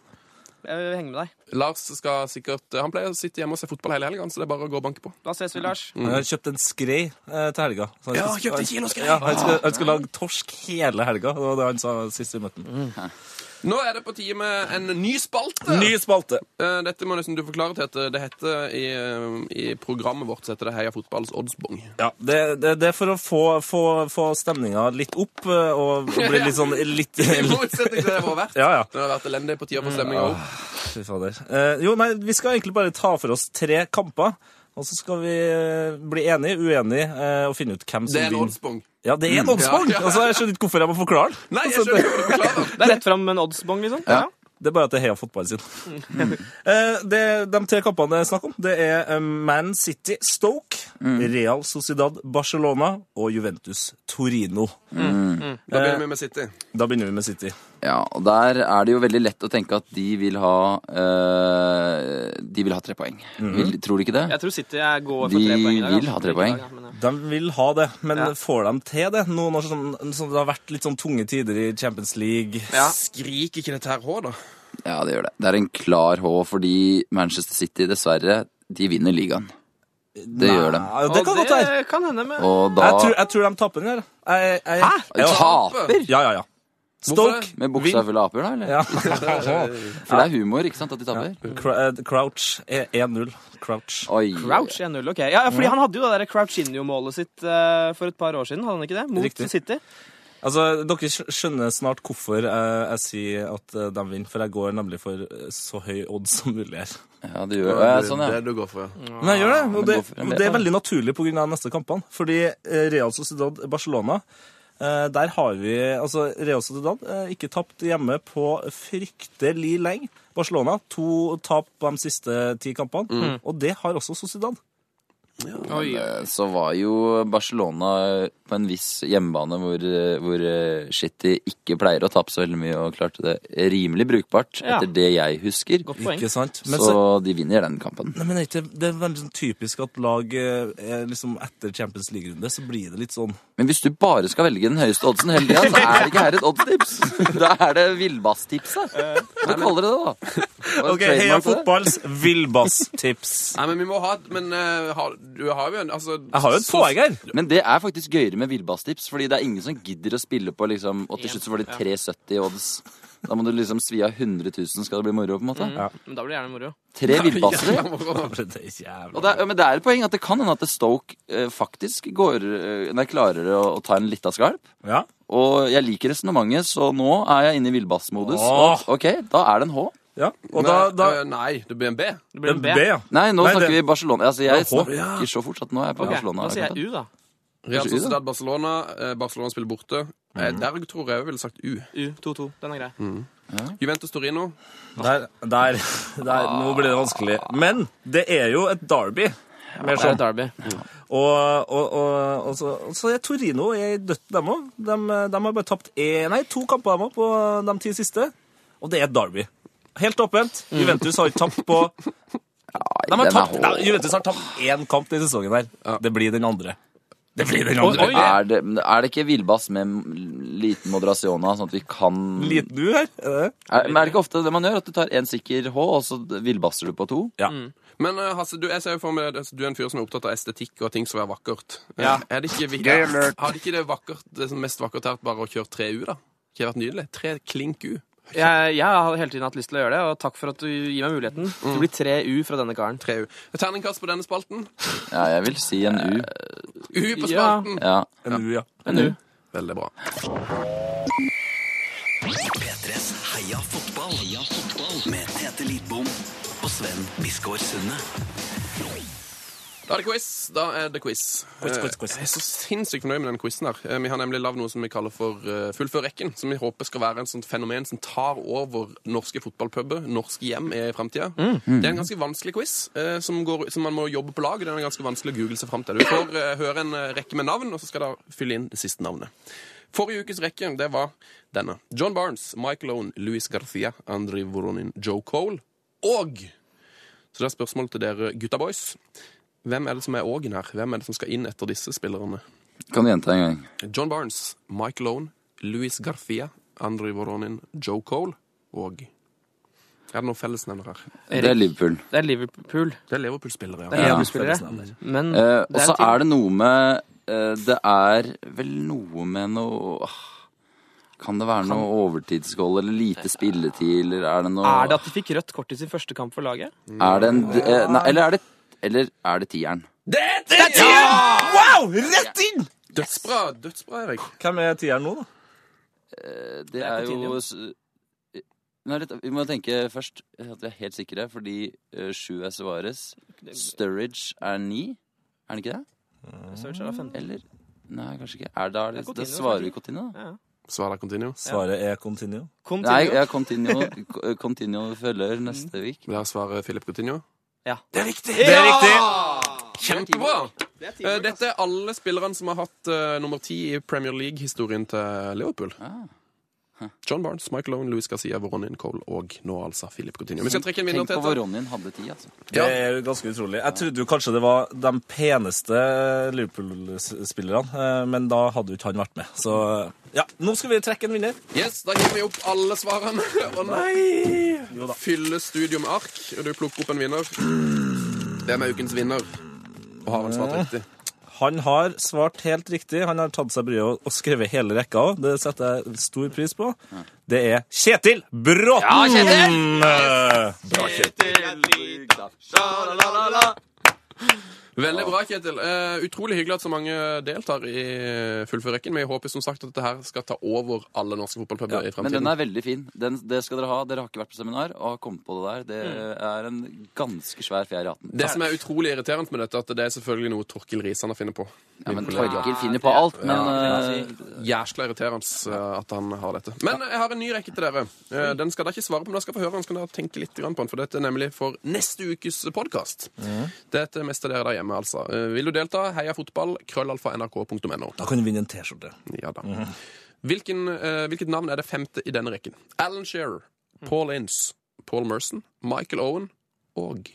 Speaker 6: Jeg vil henge med deg.
Speaker 3: Lars skal sikkert eh, Han pleier å sitte hjemme og se fotball hele helga, så det er bare å gå og banke på.
Speaker 6: Da ses vi, Lars.
Speaker 4: Han har kjøpt en skrei eh, til helga. Så han
Speaker 3: Ja,
Speaker 4: skal-
Speaker 3: kjøpte en kilo skrei.
Speaker 4: Ja, han, skal, han skal lage torsk hele helga. Det var det han sa sist vi møtte ham.
Speaker 3: Nå er det på tide med en ny spalte.
Speaker 4: Ny spalte!
Speaker 3: Eh, Dette må nesten du forklare, Tete. Det heter i, eh, i programmet vårt så heter det Heia fotballs oddsbong.
Speaker 4: Ja, det, det, det er for å få, få, få stemninga litt opp eh, og, og bli litt sånn litt,
Speaker 3: I motsetning til det det har vært.
Speaker 4: Ja, Mm, ah, ja.
Speaker 3: Den har vært elendig på tida for stemninga opp.
Speaker 4: Fy fader. Eh, jo, nei, vi skal egentlig bare ta for oss tre kamper. Og så skal vi eh, bli enige, uenige eh, og finne ut hvem
Speaker 3: Det er
Speaker 4: som
Speaker 3: en
Speaker 4: vinner.
Speaker 3: oddsbong.
Speaker 4: Ja, det er en oddsbong!
Speaker 3: Ja, ja.
Speaker 4: Altså, jeg skjønner ikke hvorfor jeg må forklare den.
Speaker 3: Nei, jeg skjønner ikke hva du forklarer.
Speaker 6: Det er rett fram med en oddsbong, liksom. Ja.
Speaker 4: Det er bare at det er heia fotball sin.
Speaker 3: Mm.
Speaker 4: Eh, det, de tre kampene det er snakk om, det er eh, Man City Stoke,
Speaker 3: Mm.
Speaker 4: Real Sociedad Barcelona og Juventus Torino.
Speaker 3: Da
Speaker 4: Eh,
Speaker 3: begynner vi med City.
Speaker 4: Da begynner vi med City.
Speaker 5: Ja, og der er det jo veldig lett å tenke at de vil ha eh, De vil ha tre poeng.
Speaker 4: Mhm.
Speaker 5: vil, tror du ikke det?
Speaker 6: Jeg tror City er gode for
Speaker 5: De
Speaker 6: tre poeng i dag.
Speaker 5: vil
Speaker 6: altså.
Speaker 5: ha tre poeng.
Speaker 6: Ja, men, ja.
Speaker 4: De vil ha det, men
Speaker 6: Ja.
Speaker 4: får de til det? Nå når sånn, sånn, det har vært litt sånn tunge tider i Champions League.
Speaker 6: Ja.
Speaker 3: Skriker ikke dette her H, da?
Speaker 5: Ja, det gjør det. Det er en klar H, fordi Manchester City, dessverre, de vinner ligaen. Det gjør de.
Speaker 4: Nei, det
Speaker 6: Og
Speaker 4: kan godt være.
Speaker 6: Det kan hende, men
Speaker 5: Og da Altså,
Speaker 4: Jeg tror, jeg tror de tapper den her. Jeg, jeg, Hæ?
Speaker 5: Taper?
Speaker 4: Ja, ja, ja.
Speaker 3: Hvorfor
Speaker 4: Stoke.
Speaker 3: det?
Speaker 5: Med buksa full av aper, da? eller?
Speaker 4: Ja.
Speaker 5: For det er humor, ikke sant? At de taper?
Speaker 4: Cr- eh, Crouch er 1-0. Crouch.
Speaker 5: Oi.
Speaker 6: Crouch 1-0, ok. Ja, ja, fordi han hadde jo det der Crouchinho-målet sitt eh, for et par år siden, hadde han ikke det? Mot
Speaker 4: Riktig.
Speaker 6: City.
Speaker 4: Altså, Dere skj- skjønner snart hvorfor jeg, jeg sier at eh, de vinner, for jeg går nemlig for eh, så høy odds som mulig her.
Speaker 5: Ja, det gjør ja, sånn,
Speaker 3: Det
Speaker 5: ja.
Speaker 3: er det du går for, ja.
Speaker 4: Men jeg gjør det, og det,
Speaker 5: hvorfor-
Speaker 4: og det er veldig naturlig pga. de neste kampene. Fordi eh, Real Sociedad Barcelona eh, der har vi, altså Real Sociedad eh, ikke tapt hjemme på fryktelig lenge. Barcelona to tap på de siste ti kampene, og det har også Sociedad.
Speaker 3: Oi, ja.
Speaker 5: Eh, Så var jo Barcelona på en viss hjemmebane hvor, eh, hvor eh, City ikke pleier å tape så veldig mye, og klarte det rimelig brukbart
Speaker 6: Ja.
Speaker 5: etter det jeg husker.
Speaker 6: Godt poeng.
Speaker 4: Ikke sant? Men så,
Speaker 5: Så de vinner den kampen.
Speaker 4: Nei, men det er ikke- Det er veldig sånn typisk at lag eh, er liksom etter Champions League-runde så blir det litt sånn
Speaker 5: Men hvis du bare skal velge den høyeste oddsen hele tida, så er det ikke her et oddstips. Da er det villbasstipset. Hva kaller dere det, da? Hva er
Speaker 4: Ok,
Speaker 5: trademark
Speaker 4: Heia
Speaker 5: på det?
Speaker 4: fotballs villbass-tips.
Speaker 3: Nei, men vi må ha et Men eh, har, du har jo en altså,
Speaker 4: Jeg har jo et
Speaker 3: så-
Speaker 4: poeng her.
Speaker 5: Men det er faktisk gøyere med villbasstips, fordi det er ingen som gidder å spille på liksom Og til slutt så var det 3,70 i odds. Da må du liksom svi av 100 000 skal det bli moro, på en måte.
Speaker 6: Mm, Men da blir det gjerne moro.
Speaker 5: Tre villbasser.
Speaker 3: Jævla moro.
Speaker 4: Det er jævla
Speaker 5: Og det er, men det er et poeng at det kan hende at Stoke eh, faktisk går, eh, nei, klarer å, å ta en lita skalp.
Speaker 4: Ja.
Speaker 5: Og jeg liker resonnementet, så nå er jeg inne i villbassmodus. Og, Ok, da er det en H.
Speaker 4: ja. Og da, da
Speaker 3: Eh, Nei, det blir en B.
Speaker 6: Det blir en B.
Speaker 4: B, ja.
Speaker 5: Nei, nå
Speaker 4: Nei,
Speaker 5: snakker
Speaker 4: det-
Speaker 5: vi Barcelona. Altså, jeg
Speaker 4: Ja, H,
Speaker 5: snakker
Speaker 4: ja.
Speaker 5: så fort at nå er jeg på
Speaker 6: Ok,
Speaker 5: Barcelona.
Speaker 6: Da sier jeg U, da.
Speaker 3: Real
Speaker 5: Kanskje U, da?
Speaker 3: Sociedad Barcelona. eh, Barcelona spiller borte. Eh,
Speaker 6: Mhm.
Speaker 3: Der tror jeg jeg ville sagt U.
Speaker 6: U, 2-2. Den er grei.
Speaker 3: Juventus Torino.
Speaker 4: Der, der, der. Nå ble det vanskelig. Men det er jo et derby. Mer
Speaker 6: Det er
Speaker 4: sånn.
Speaker 6: Derby.
Speaker 4: Og, og, og, og så, og så er Torino er i dødt, dem òg. De, de har bare tapt én, nei, to kamper dem også på de ti siste. Og det er et derby. Helt åpent. Juventus har ikke tapt på de har tapt,
Speaker 5: H.
Speaker 4: nei, Juventus har tapt én kamp denne sesongen her. Det blir den andre. Det blir den
Speaker 6: Oi,
Speaker 4: andre.
Speaker 6: oi,
Speaker 5: Er det, er det ikke villbass med m- liten moderasjona, sånn at vi kan
Speaker 4: Liten du her. Er det?
Speaker 5: er, Men er det ikke ofte det man gjør? At du tar én sikker H, og så villbasser du på to?
Speaker 4: Ja.
Speaker 3: Men eh, Hasse, du, jeg ser jo for meg at du er en fyr som er opptatt av estetikk og ting som er vakkert. Eh,
Speaker 6: Ja.
Speaker 3: Er det ikke, vi- Hadde ikke det, vakkert, det som mest vakkert vært bare å kjøre tre U, da? Det har vært nydelig. Tre klink U.
Speaker 6: Jeg, jeg har hele tiden hatt lyst til å gjøre det, og takk for at du gir meg muligheten. Det blir 3U fra denne karen.
Speaker 3: Tre U. Terningkast på denne spalten.
Speaker 5: Ja, jeg vil si en U.
Speaker 3: U på
Speaker 6: Ja.
Speaker 3: spalten!
Speaker 5: Eh, Ja.
Speaker 4: En U, ja.
Speaker 5: En U.
Speaker 3: Veldig bra.
Speaker 2: P3s Heia fotball. Heia fotball. Med Tete Lidbom og Sven Biskår Sunde.
Speaker 3: Da er det quiz. Da er det quiz.
Speaker 4: Quiz, quiz, quiz.
Speaker 3: Eh, Jeg er så sinnssykt fornøyd med denne quizen her. Eh, Vi har nemlig lagd noe som vi kaller for eh, Fullfør rekken, som vi håper skal være en sånt fenomen som tar over norske fotballpuber, norske hjem i framtida.
Speaker 4: Mm.
Speaker 3: Det er en ganske vanskelig quiz, eh, som, går, som man må jobbe på lag. Den er ganske vanskelig å google seg fram til. Du får eh, høre en eh, rekke med navn, og så skal dere fylle inn det siste navnet. Forrige ukes rekke det var denne. John Barnes, Michael Owen, Luis Garcia, Andri Voronin, Joe Cole og Så det er spørsmål til dere gutta boys. Hvem er det som er ågen her? Hvem er det som skal inn etter disse spillerne?
Speaker 5: Kan du gjenta en gang?
Speaker 3: John Barnes, Mike Lone, Luis Garcia, Andrej Voronin, Joe Cole og Er det noen fellesnevner her?
Speaker 5: Det er Liverpool.
Speaker 6: Det er Liverpool.
Speaker 3: Det er Liverpool-spillere, ja.
Speaker 6: Det er
Speaker 5: Ja.
Speaker 6: Liverpool-spillere. Men
Speaker 5: Eh, og
Speaker 6: det
Speaker 5: så
Speaker 6: en ting.
Speaker 5: er det noe med eh, Det er vel noe med noe ah, Kan det være noe overtidsgål eller lite spilletid, eller er det noe
Speaker 6: Er det at de fikk rødt kort i sin første kamp for laget?
Speaker 5: Er det en eh, Nei, eller er det Eller er det tieren?
Speaker 4: Wow! Rett inn!
Speaker 3: Dødsbra, dødsbra, Erik.
Speaker 4: Hvem er tieren nå, da?
Speaker 5: Eh, Det er jo s- eh, Nei, litt, Vi må tenke først at vi er helt sikre, fordi eh, sju er Suárez. Sturridge er ni. Er han ikke det?
Speaker 6: Search er da 15.
Speaker 5: Eller? Nei, kanskje ikke. Er det, er det,
Speaker 6: Det er
Speaker 5: det
Speaker 6: Coutinho,
Speaker 5: svarer
Speaker 6: kanskje.
Speaker 5: vi Coutinho, da.
Speaker 3: Svaret er continue.
Speaker 4: Svaret er continue.
Speaker 5: Nei,
Speaker 6: Continue.
Speaker 5: ja, Coutinho, Mm. Co- Coutinho følger neste uke.
Speaker 3: Det er svaret Philip Coutinho.
Speaker 4: Det er riktig!
Speaker 3: Kjempebra! Eh, Dette er alle spillerne som har hatt eh, nummer ti i Premier League-historien til Liverpool.
Speaker 4: Ah.
Speaker 3: John Barnes, Michael Owen, Luis Garcia, Voronin Cole og nå altså Philip Coutinho.
Speaker 4: Mm.
Speaker 3: Vi skal trekke en vinner
Speaker 5: Tenk på
Speaker 3: til.
Speaker 5: hvor
Speaker 3: etter.
Speaker 5: Ronjen hadde tid, altså.
Speaker 4: Det er jo ganske utrolig. Jeg trodde jo kanskje det var de peneste Liverpool-spillerne, eh, men da hadde jo ikke han vært med. Så ja, nå skal vi trekke en vinner.
Speaker 3: Yes, Da gir vi opp alle svarene. Å nei!
Speaker 4: da.
Speaker 3: Fylle studio med ark,
Speaker 4: Mm. Eh.
Speaker 3: og du plukker opp en vinner. Hvem er ukens vinner? Og har han svart riktig?
Speaker 4: Han har svart helt riktig. Han har tatt seg bryet og- og skrevet hele rekka òg. Det setter jeg stor pris på. Det er Kjetil Bråten! Eh,
Speaker 5: Ja, Kjetil!
Speaker 4: Bra, Kjetil.
Speaker 3: Veldig bra, Kjetil. Eh, utrolig hyggelig at så mange deltar i Fullfør rekken. Vi håper som sagt at dette her skal ta over alle norske fotballpuber i
Speaker 5: Men
Speaker 3: fremtiden.
Speaker 5: den er veldig fin. Den, det skal dere ha. Dere har ikke vært på seminar og har kommet på det der. Det er en ganske svær fjær i hatten.
Speaker 3: Det som er utrolig irriterende med dette, at det er selvfølgelig noe Torkil Risan har funnet på.
Speaker 5: Ja, men
Speaker 3: Min kollega.
Speaker 5: Torkil finner på alt, men eh,
Speaker 3: Jæskla irriterende eh, at han har dette. Men jeg har en ny rekke til dere.
Speaker 5: Mm.
Speaker 3: Eh, Den skal dere ikke svare på, men dere skal få høre den. Så kan dere tenke litt grann på den, for dette er nemlig for neste ukes podkast.
Speaker 5: Mm.
Speaker 3: Det er til mest av dere der hjemme, altså. Eh, Vil du delta? Heia fotball. Krøllalfa nrk.no.
Speaker 4: Da kan du vinne en T-skjorte.
Speaker 3: Ja da.
Speaker 5: Mhm.
Speaker 3: Hvilken, eh, hvilket navn er det femte i denne rekken? Alan Shearer, Paul Ince, Paul Merson, Michael Owen og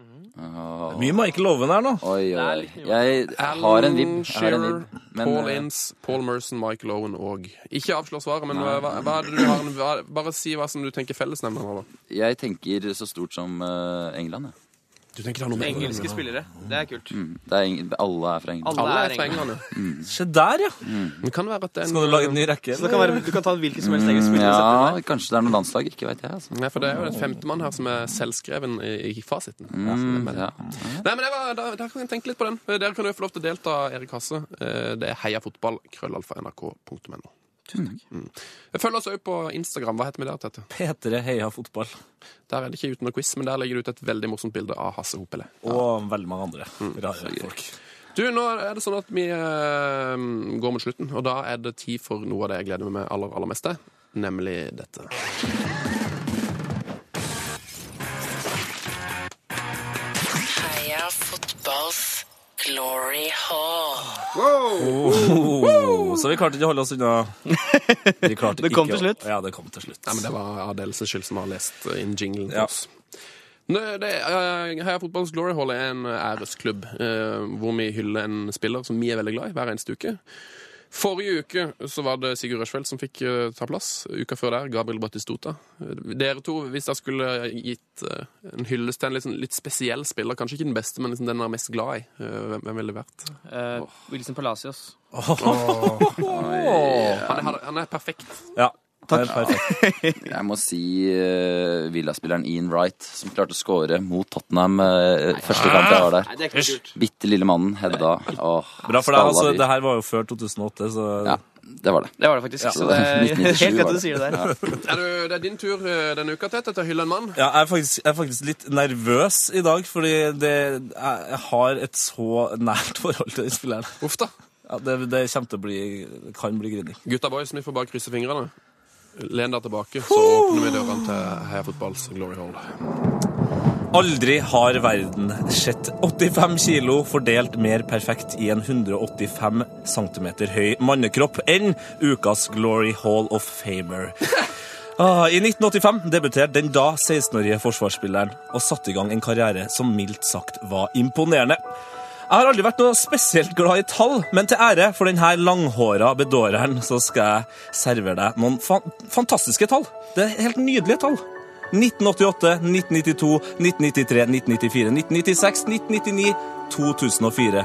Speaker 5: åh,
Speaker 4: Mye Michael Oven her nå.
Speaker 5: Oi, oi.
Speaker 6: litt
Speaker 5: Jeg har en vibb.
Speaker 3: Alan
Speaker 5: Jeg har en
Speaker 3: Shearer,
Speaker 5: vibb. Men
Speaker 3: Paul
Speaker 5: eh,
Speaker 3: Ince, Paul Merson, Michael Owen og Ikke avslør svaret, men eh, hva, hva er det du har en, hva, Bare si hva som du tenker fellesnevneren var. da.
Speaker 5: jeg tenker så stort som eh, England, jeg.
Speaker 3: Du tenker det har noe med
Speaker 6: Engelske spillere. Det er kult.
Speaker 5: Det er eng alle er fra England.
Speaker 6: Alle
Speaker 3: Alle er
Speaker 6: er
Speaker 3: fra
Speaker 6: engelske.
Speaker 3: England, ja.
Speaker 4: Se der, ja.
Speaker 3: Det kan være at det er
Speaker 4: Skal du lage en ny rekke?
Speaker 6: Så det kan være, du kan ta hvilken som helst engelsk spiller. og sette den
Speaker 5: Ja,
Speaker 6: der.
Speaker 5: kanskje det er noe landslag. Ikke veit jeg, altså.
Speaker 3: Nei, eh, for det er jo den femtemann her som er selvskreven i, i fasiten.
Speaker 5: Mm,
Speaker 3: men,
Speaker 5: ja.
Speaker 3: Nei, men det var, da, da kan jeg tenke litt på den. Eh, Dere kan jo få lov til å delta, Erik Hasse. Eh, Det er heiafotballkrøllalfa.nrk.no. Mm. Følg oss òg på Instagram. Hva heter vi der, Tete?
Speaker 4: P3 Heia Fotball.
Speaker 3: Der er det ikke uten noe quiz, men der legger du ut et veldig morsomt bilde av Hasse Hopele.
Speaker 4: Og veldig mange andre
Speaker 6: Mm.
Speaker 4: rare folk.
Speaker 3: Du, nå er det sånn at vi eh, går mot slutten, og da er det tid for noe av det jeg gleder meg med aller, aller meste, nemlig dette.
Speaker 10: Heia fotballs glory hall.
Speaker 4: Oh, så vi klarte ikke å holde oss unna. Vi klarte
Speaker 6: Det kom
Speaker 4: ikke
Speaker 6: til
Speaker 4: å-
Speaker 6: slutt.
Speaker 4: Ja, det kom til slutt.
Speaker 3: Nei, men det var Adeles skyld som har lest inn jinglen til
Speaker 4: Ja.
Speaker 3: oss. Nå, det, eh, Heia Fotballens Glory Hall er en æresklubb eh, hvor vi hyller en spiller som vi er veldig glad i hver eneste uke. Forrige uke så var det Sigurd Rushfeldt som fikk eh, ta plass. Uka før der Gabriel Batistota. Dere to, hvis dere skulle gitt eh, en hyllest til en litt, sånn, litt spesiell spiller, kanskje ikke den beste, men liksom den dere er mest glad i, eh, hvem, hvem ville det vært?
Speaker 6: Eh, Wilson Palacios.
Speaker 3: Han er, han er perfekt.
Speaker 4: Ja. Takk. Perfekt.
Speaker 5: Jeg må si uh, Villa-spilleren Ian Wright, som klarte å score mot Tottenham eh, første kamp jeg var
Speaker 6: Nei,
Speaker 5: der.
Speaker 6: det er ikke kult.
Speaker 5: Bitte lille mannen, Hedda. Åh,
Speaker 4: Bra for deg.
Speaker 5: skalla
Speaker 4: altså,
Speaker 5: vi.
Speaker 4: Det her var jo før 2008, så
Speaker 5: Ja, det var det.
Speaker 6: Det var det faktisk. Så det er
Speaker 5: 1997
Speaker 6: helt
Speaker 5: var
Speaker 6: godt du
Speaker 5: det.
Speaker 6: sier det der.
Speaker 3: Er du, det er din tur eh, denne uka, Tete, til å hylle en mann.
Speaker 4: Ja, jeg er, faktisk, jeg er faktisk litt nervøs i dag, fordi det, jeg jeg har et så nært forhold til den spilleren.
Speaker 3: Uff da.
Speaker 4: Ja, det, det kommer til å bli kan bli grining.
Speaker 3: Gutta boys, vi får bare krysse fingrene. Len deg tilbake, så åpner vi dørene til Heia Fotballs Glory Hall.
Speaker 4: Aldri har verden sett 85 kilo fordelt mer perfekt i en 185 cm høy mannekropp enn ukas Glory Hall of Famer. Ah, I 1985 debuterte den da 16-årige forsvarsspilleren og satte i gang en karriere som mildt sagt var imponerende. Jeg har aldri vært noe spesielt glad i tall, men til ære for denne langhåra bedåreren så skal jeg servere deg noen fa fantastiske tall. Det er helt nydelige tall. 1988, 1992, 1993, 1994, 1996, 1999, 2004.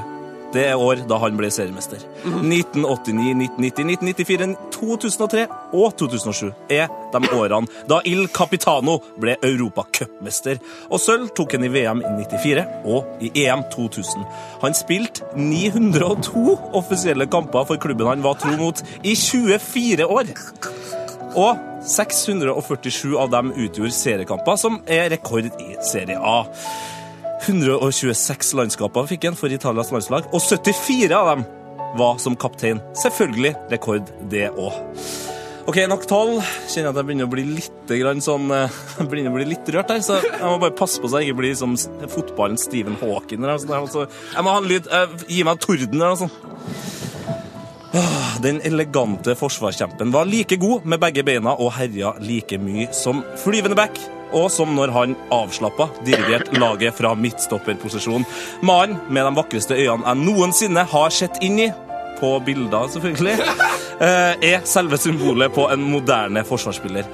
Speaker 4: Det er år da han ble seriemester. 1989, 1990, 1994, 2003 og 2007 er de årene da Il Capitano ble europacupmester. Og sølv tok han i VM i 94 og i E EM 2000. Han spilte 902 offisielle kamper for klubben han var tro mot, i 24 år. Og 647 av dem utgjorde seriekamper, som er rekord i Serie A. 126 landskamper fikk han for Italias landslag, og 74 av dem var som kaptein. Selvfølgelig rekord, det òg. OK, nok tall. Kjenner at jeg begynner å bli litt grann sånn eh, Jeg begynner å bli litt rørt her, så jeg må bare passe på så jeg ikke blir som s- fotballen Stephen Hawking. Eller noe sånt der, altså. Jeg må ha en lyd. eh, Gi meg torden eller noe sånt. Den elegante forsvarskjempen var like god med begge beina og herja like mye som flyvende back, og som når han avslappa dirigerte laget fra midtstopperposisjon. Mannen med de vakreste øynene jeg noensinne har sett inn i, på bilder selvfølgelig, eh, er selve symbolet på en moderne forsvarsspiller.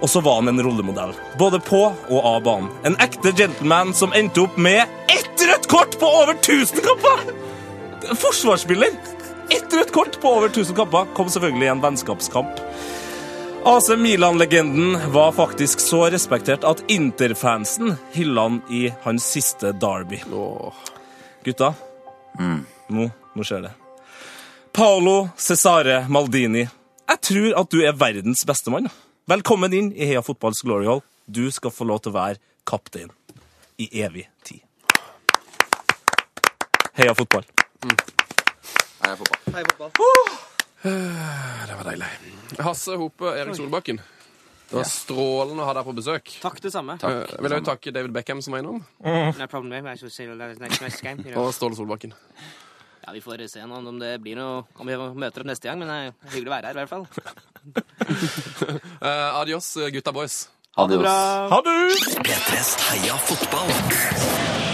Speaker 4: Og så var han en rollemodell, både på og av banen. En ekte gentleman som endte opp med ett rødt kort på over 1000 kamper! Forsvarsspiller! Ett rødt kort på over 1000 kamper kom selvfølgelig i en vennskapskamp. AC Milan-legenden var faktisk så respektert at Inter-fansen hylla han i hans siste derby. Gutta, nå, nå skjer det. Paolo Cesare Maldini, jeg tror at du er verdens beste mann. Velkommen inn i Heia Fotballs Glory Hall. Du skal få lov til å være kaptein i evig tid. Heia fotball.
Speaker 5: Nei, jeg får bare.
Speaker 3: Det var deilig. Hasse Hope, Erik Solbakken. Det var strålende å ha deg på besøk.
Speaker 6: Takk, det samme.
Speaker 3: Eh, vil jeg jo takke David Beckham som var innom,
Speaker 6: No problem, I should say that next, next game, you know.
Speaker 3: og Ståle Solbakken.
Speaker 6: Ja, Vi får se nå om det blir noe Om vi møter opp neste gang, men det er hyggelig å være her i hvert fall.
Speaker 3: Eh, adios, gutta boys.
Speaker 5: Adios.
Speaker 4: Ha det!
Speaker 2: P3s Heia fotball.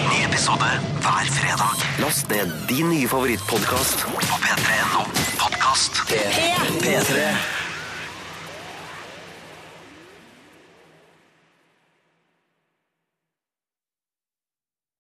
Speaker 2: Ny episode hver fredag. Last ned din nye favorittpodkast på p3.no podkast. P3.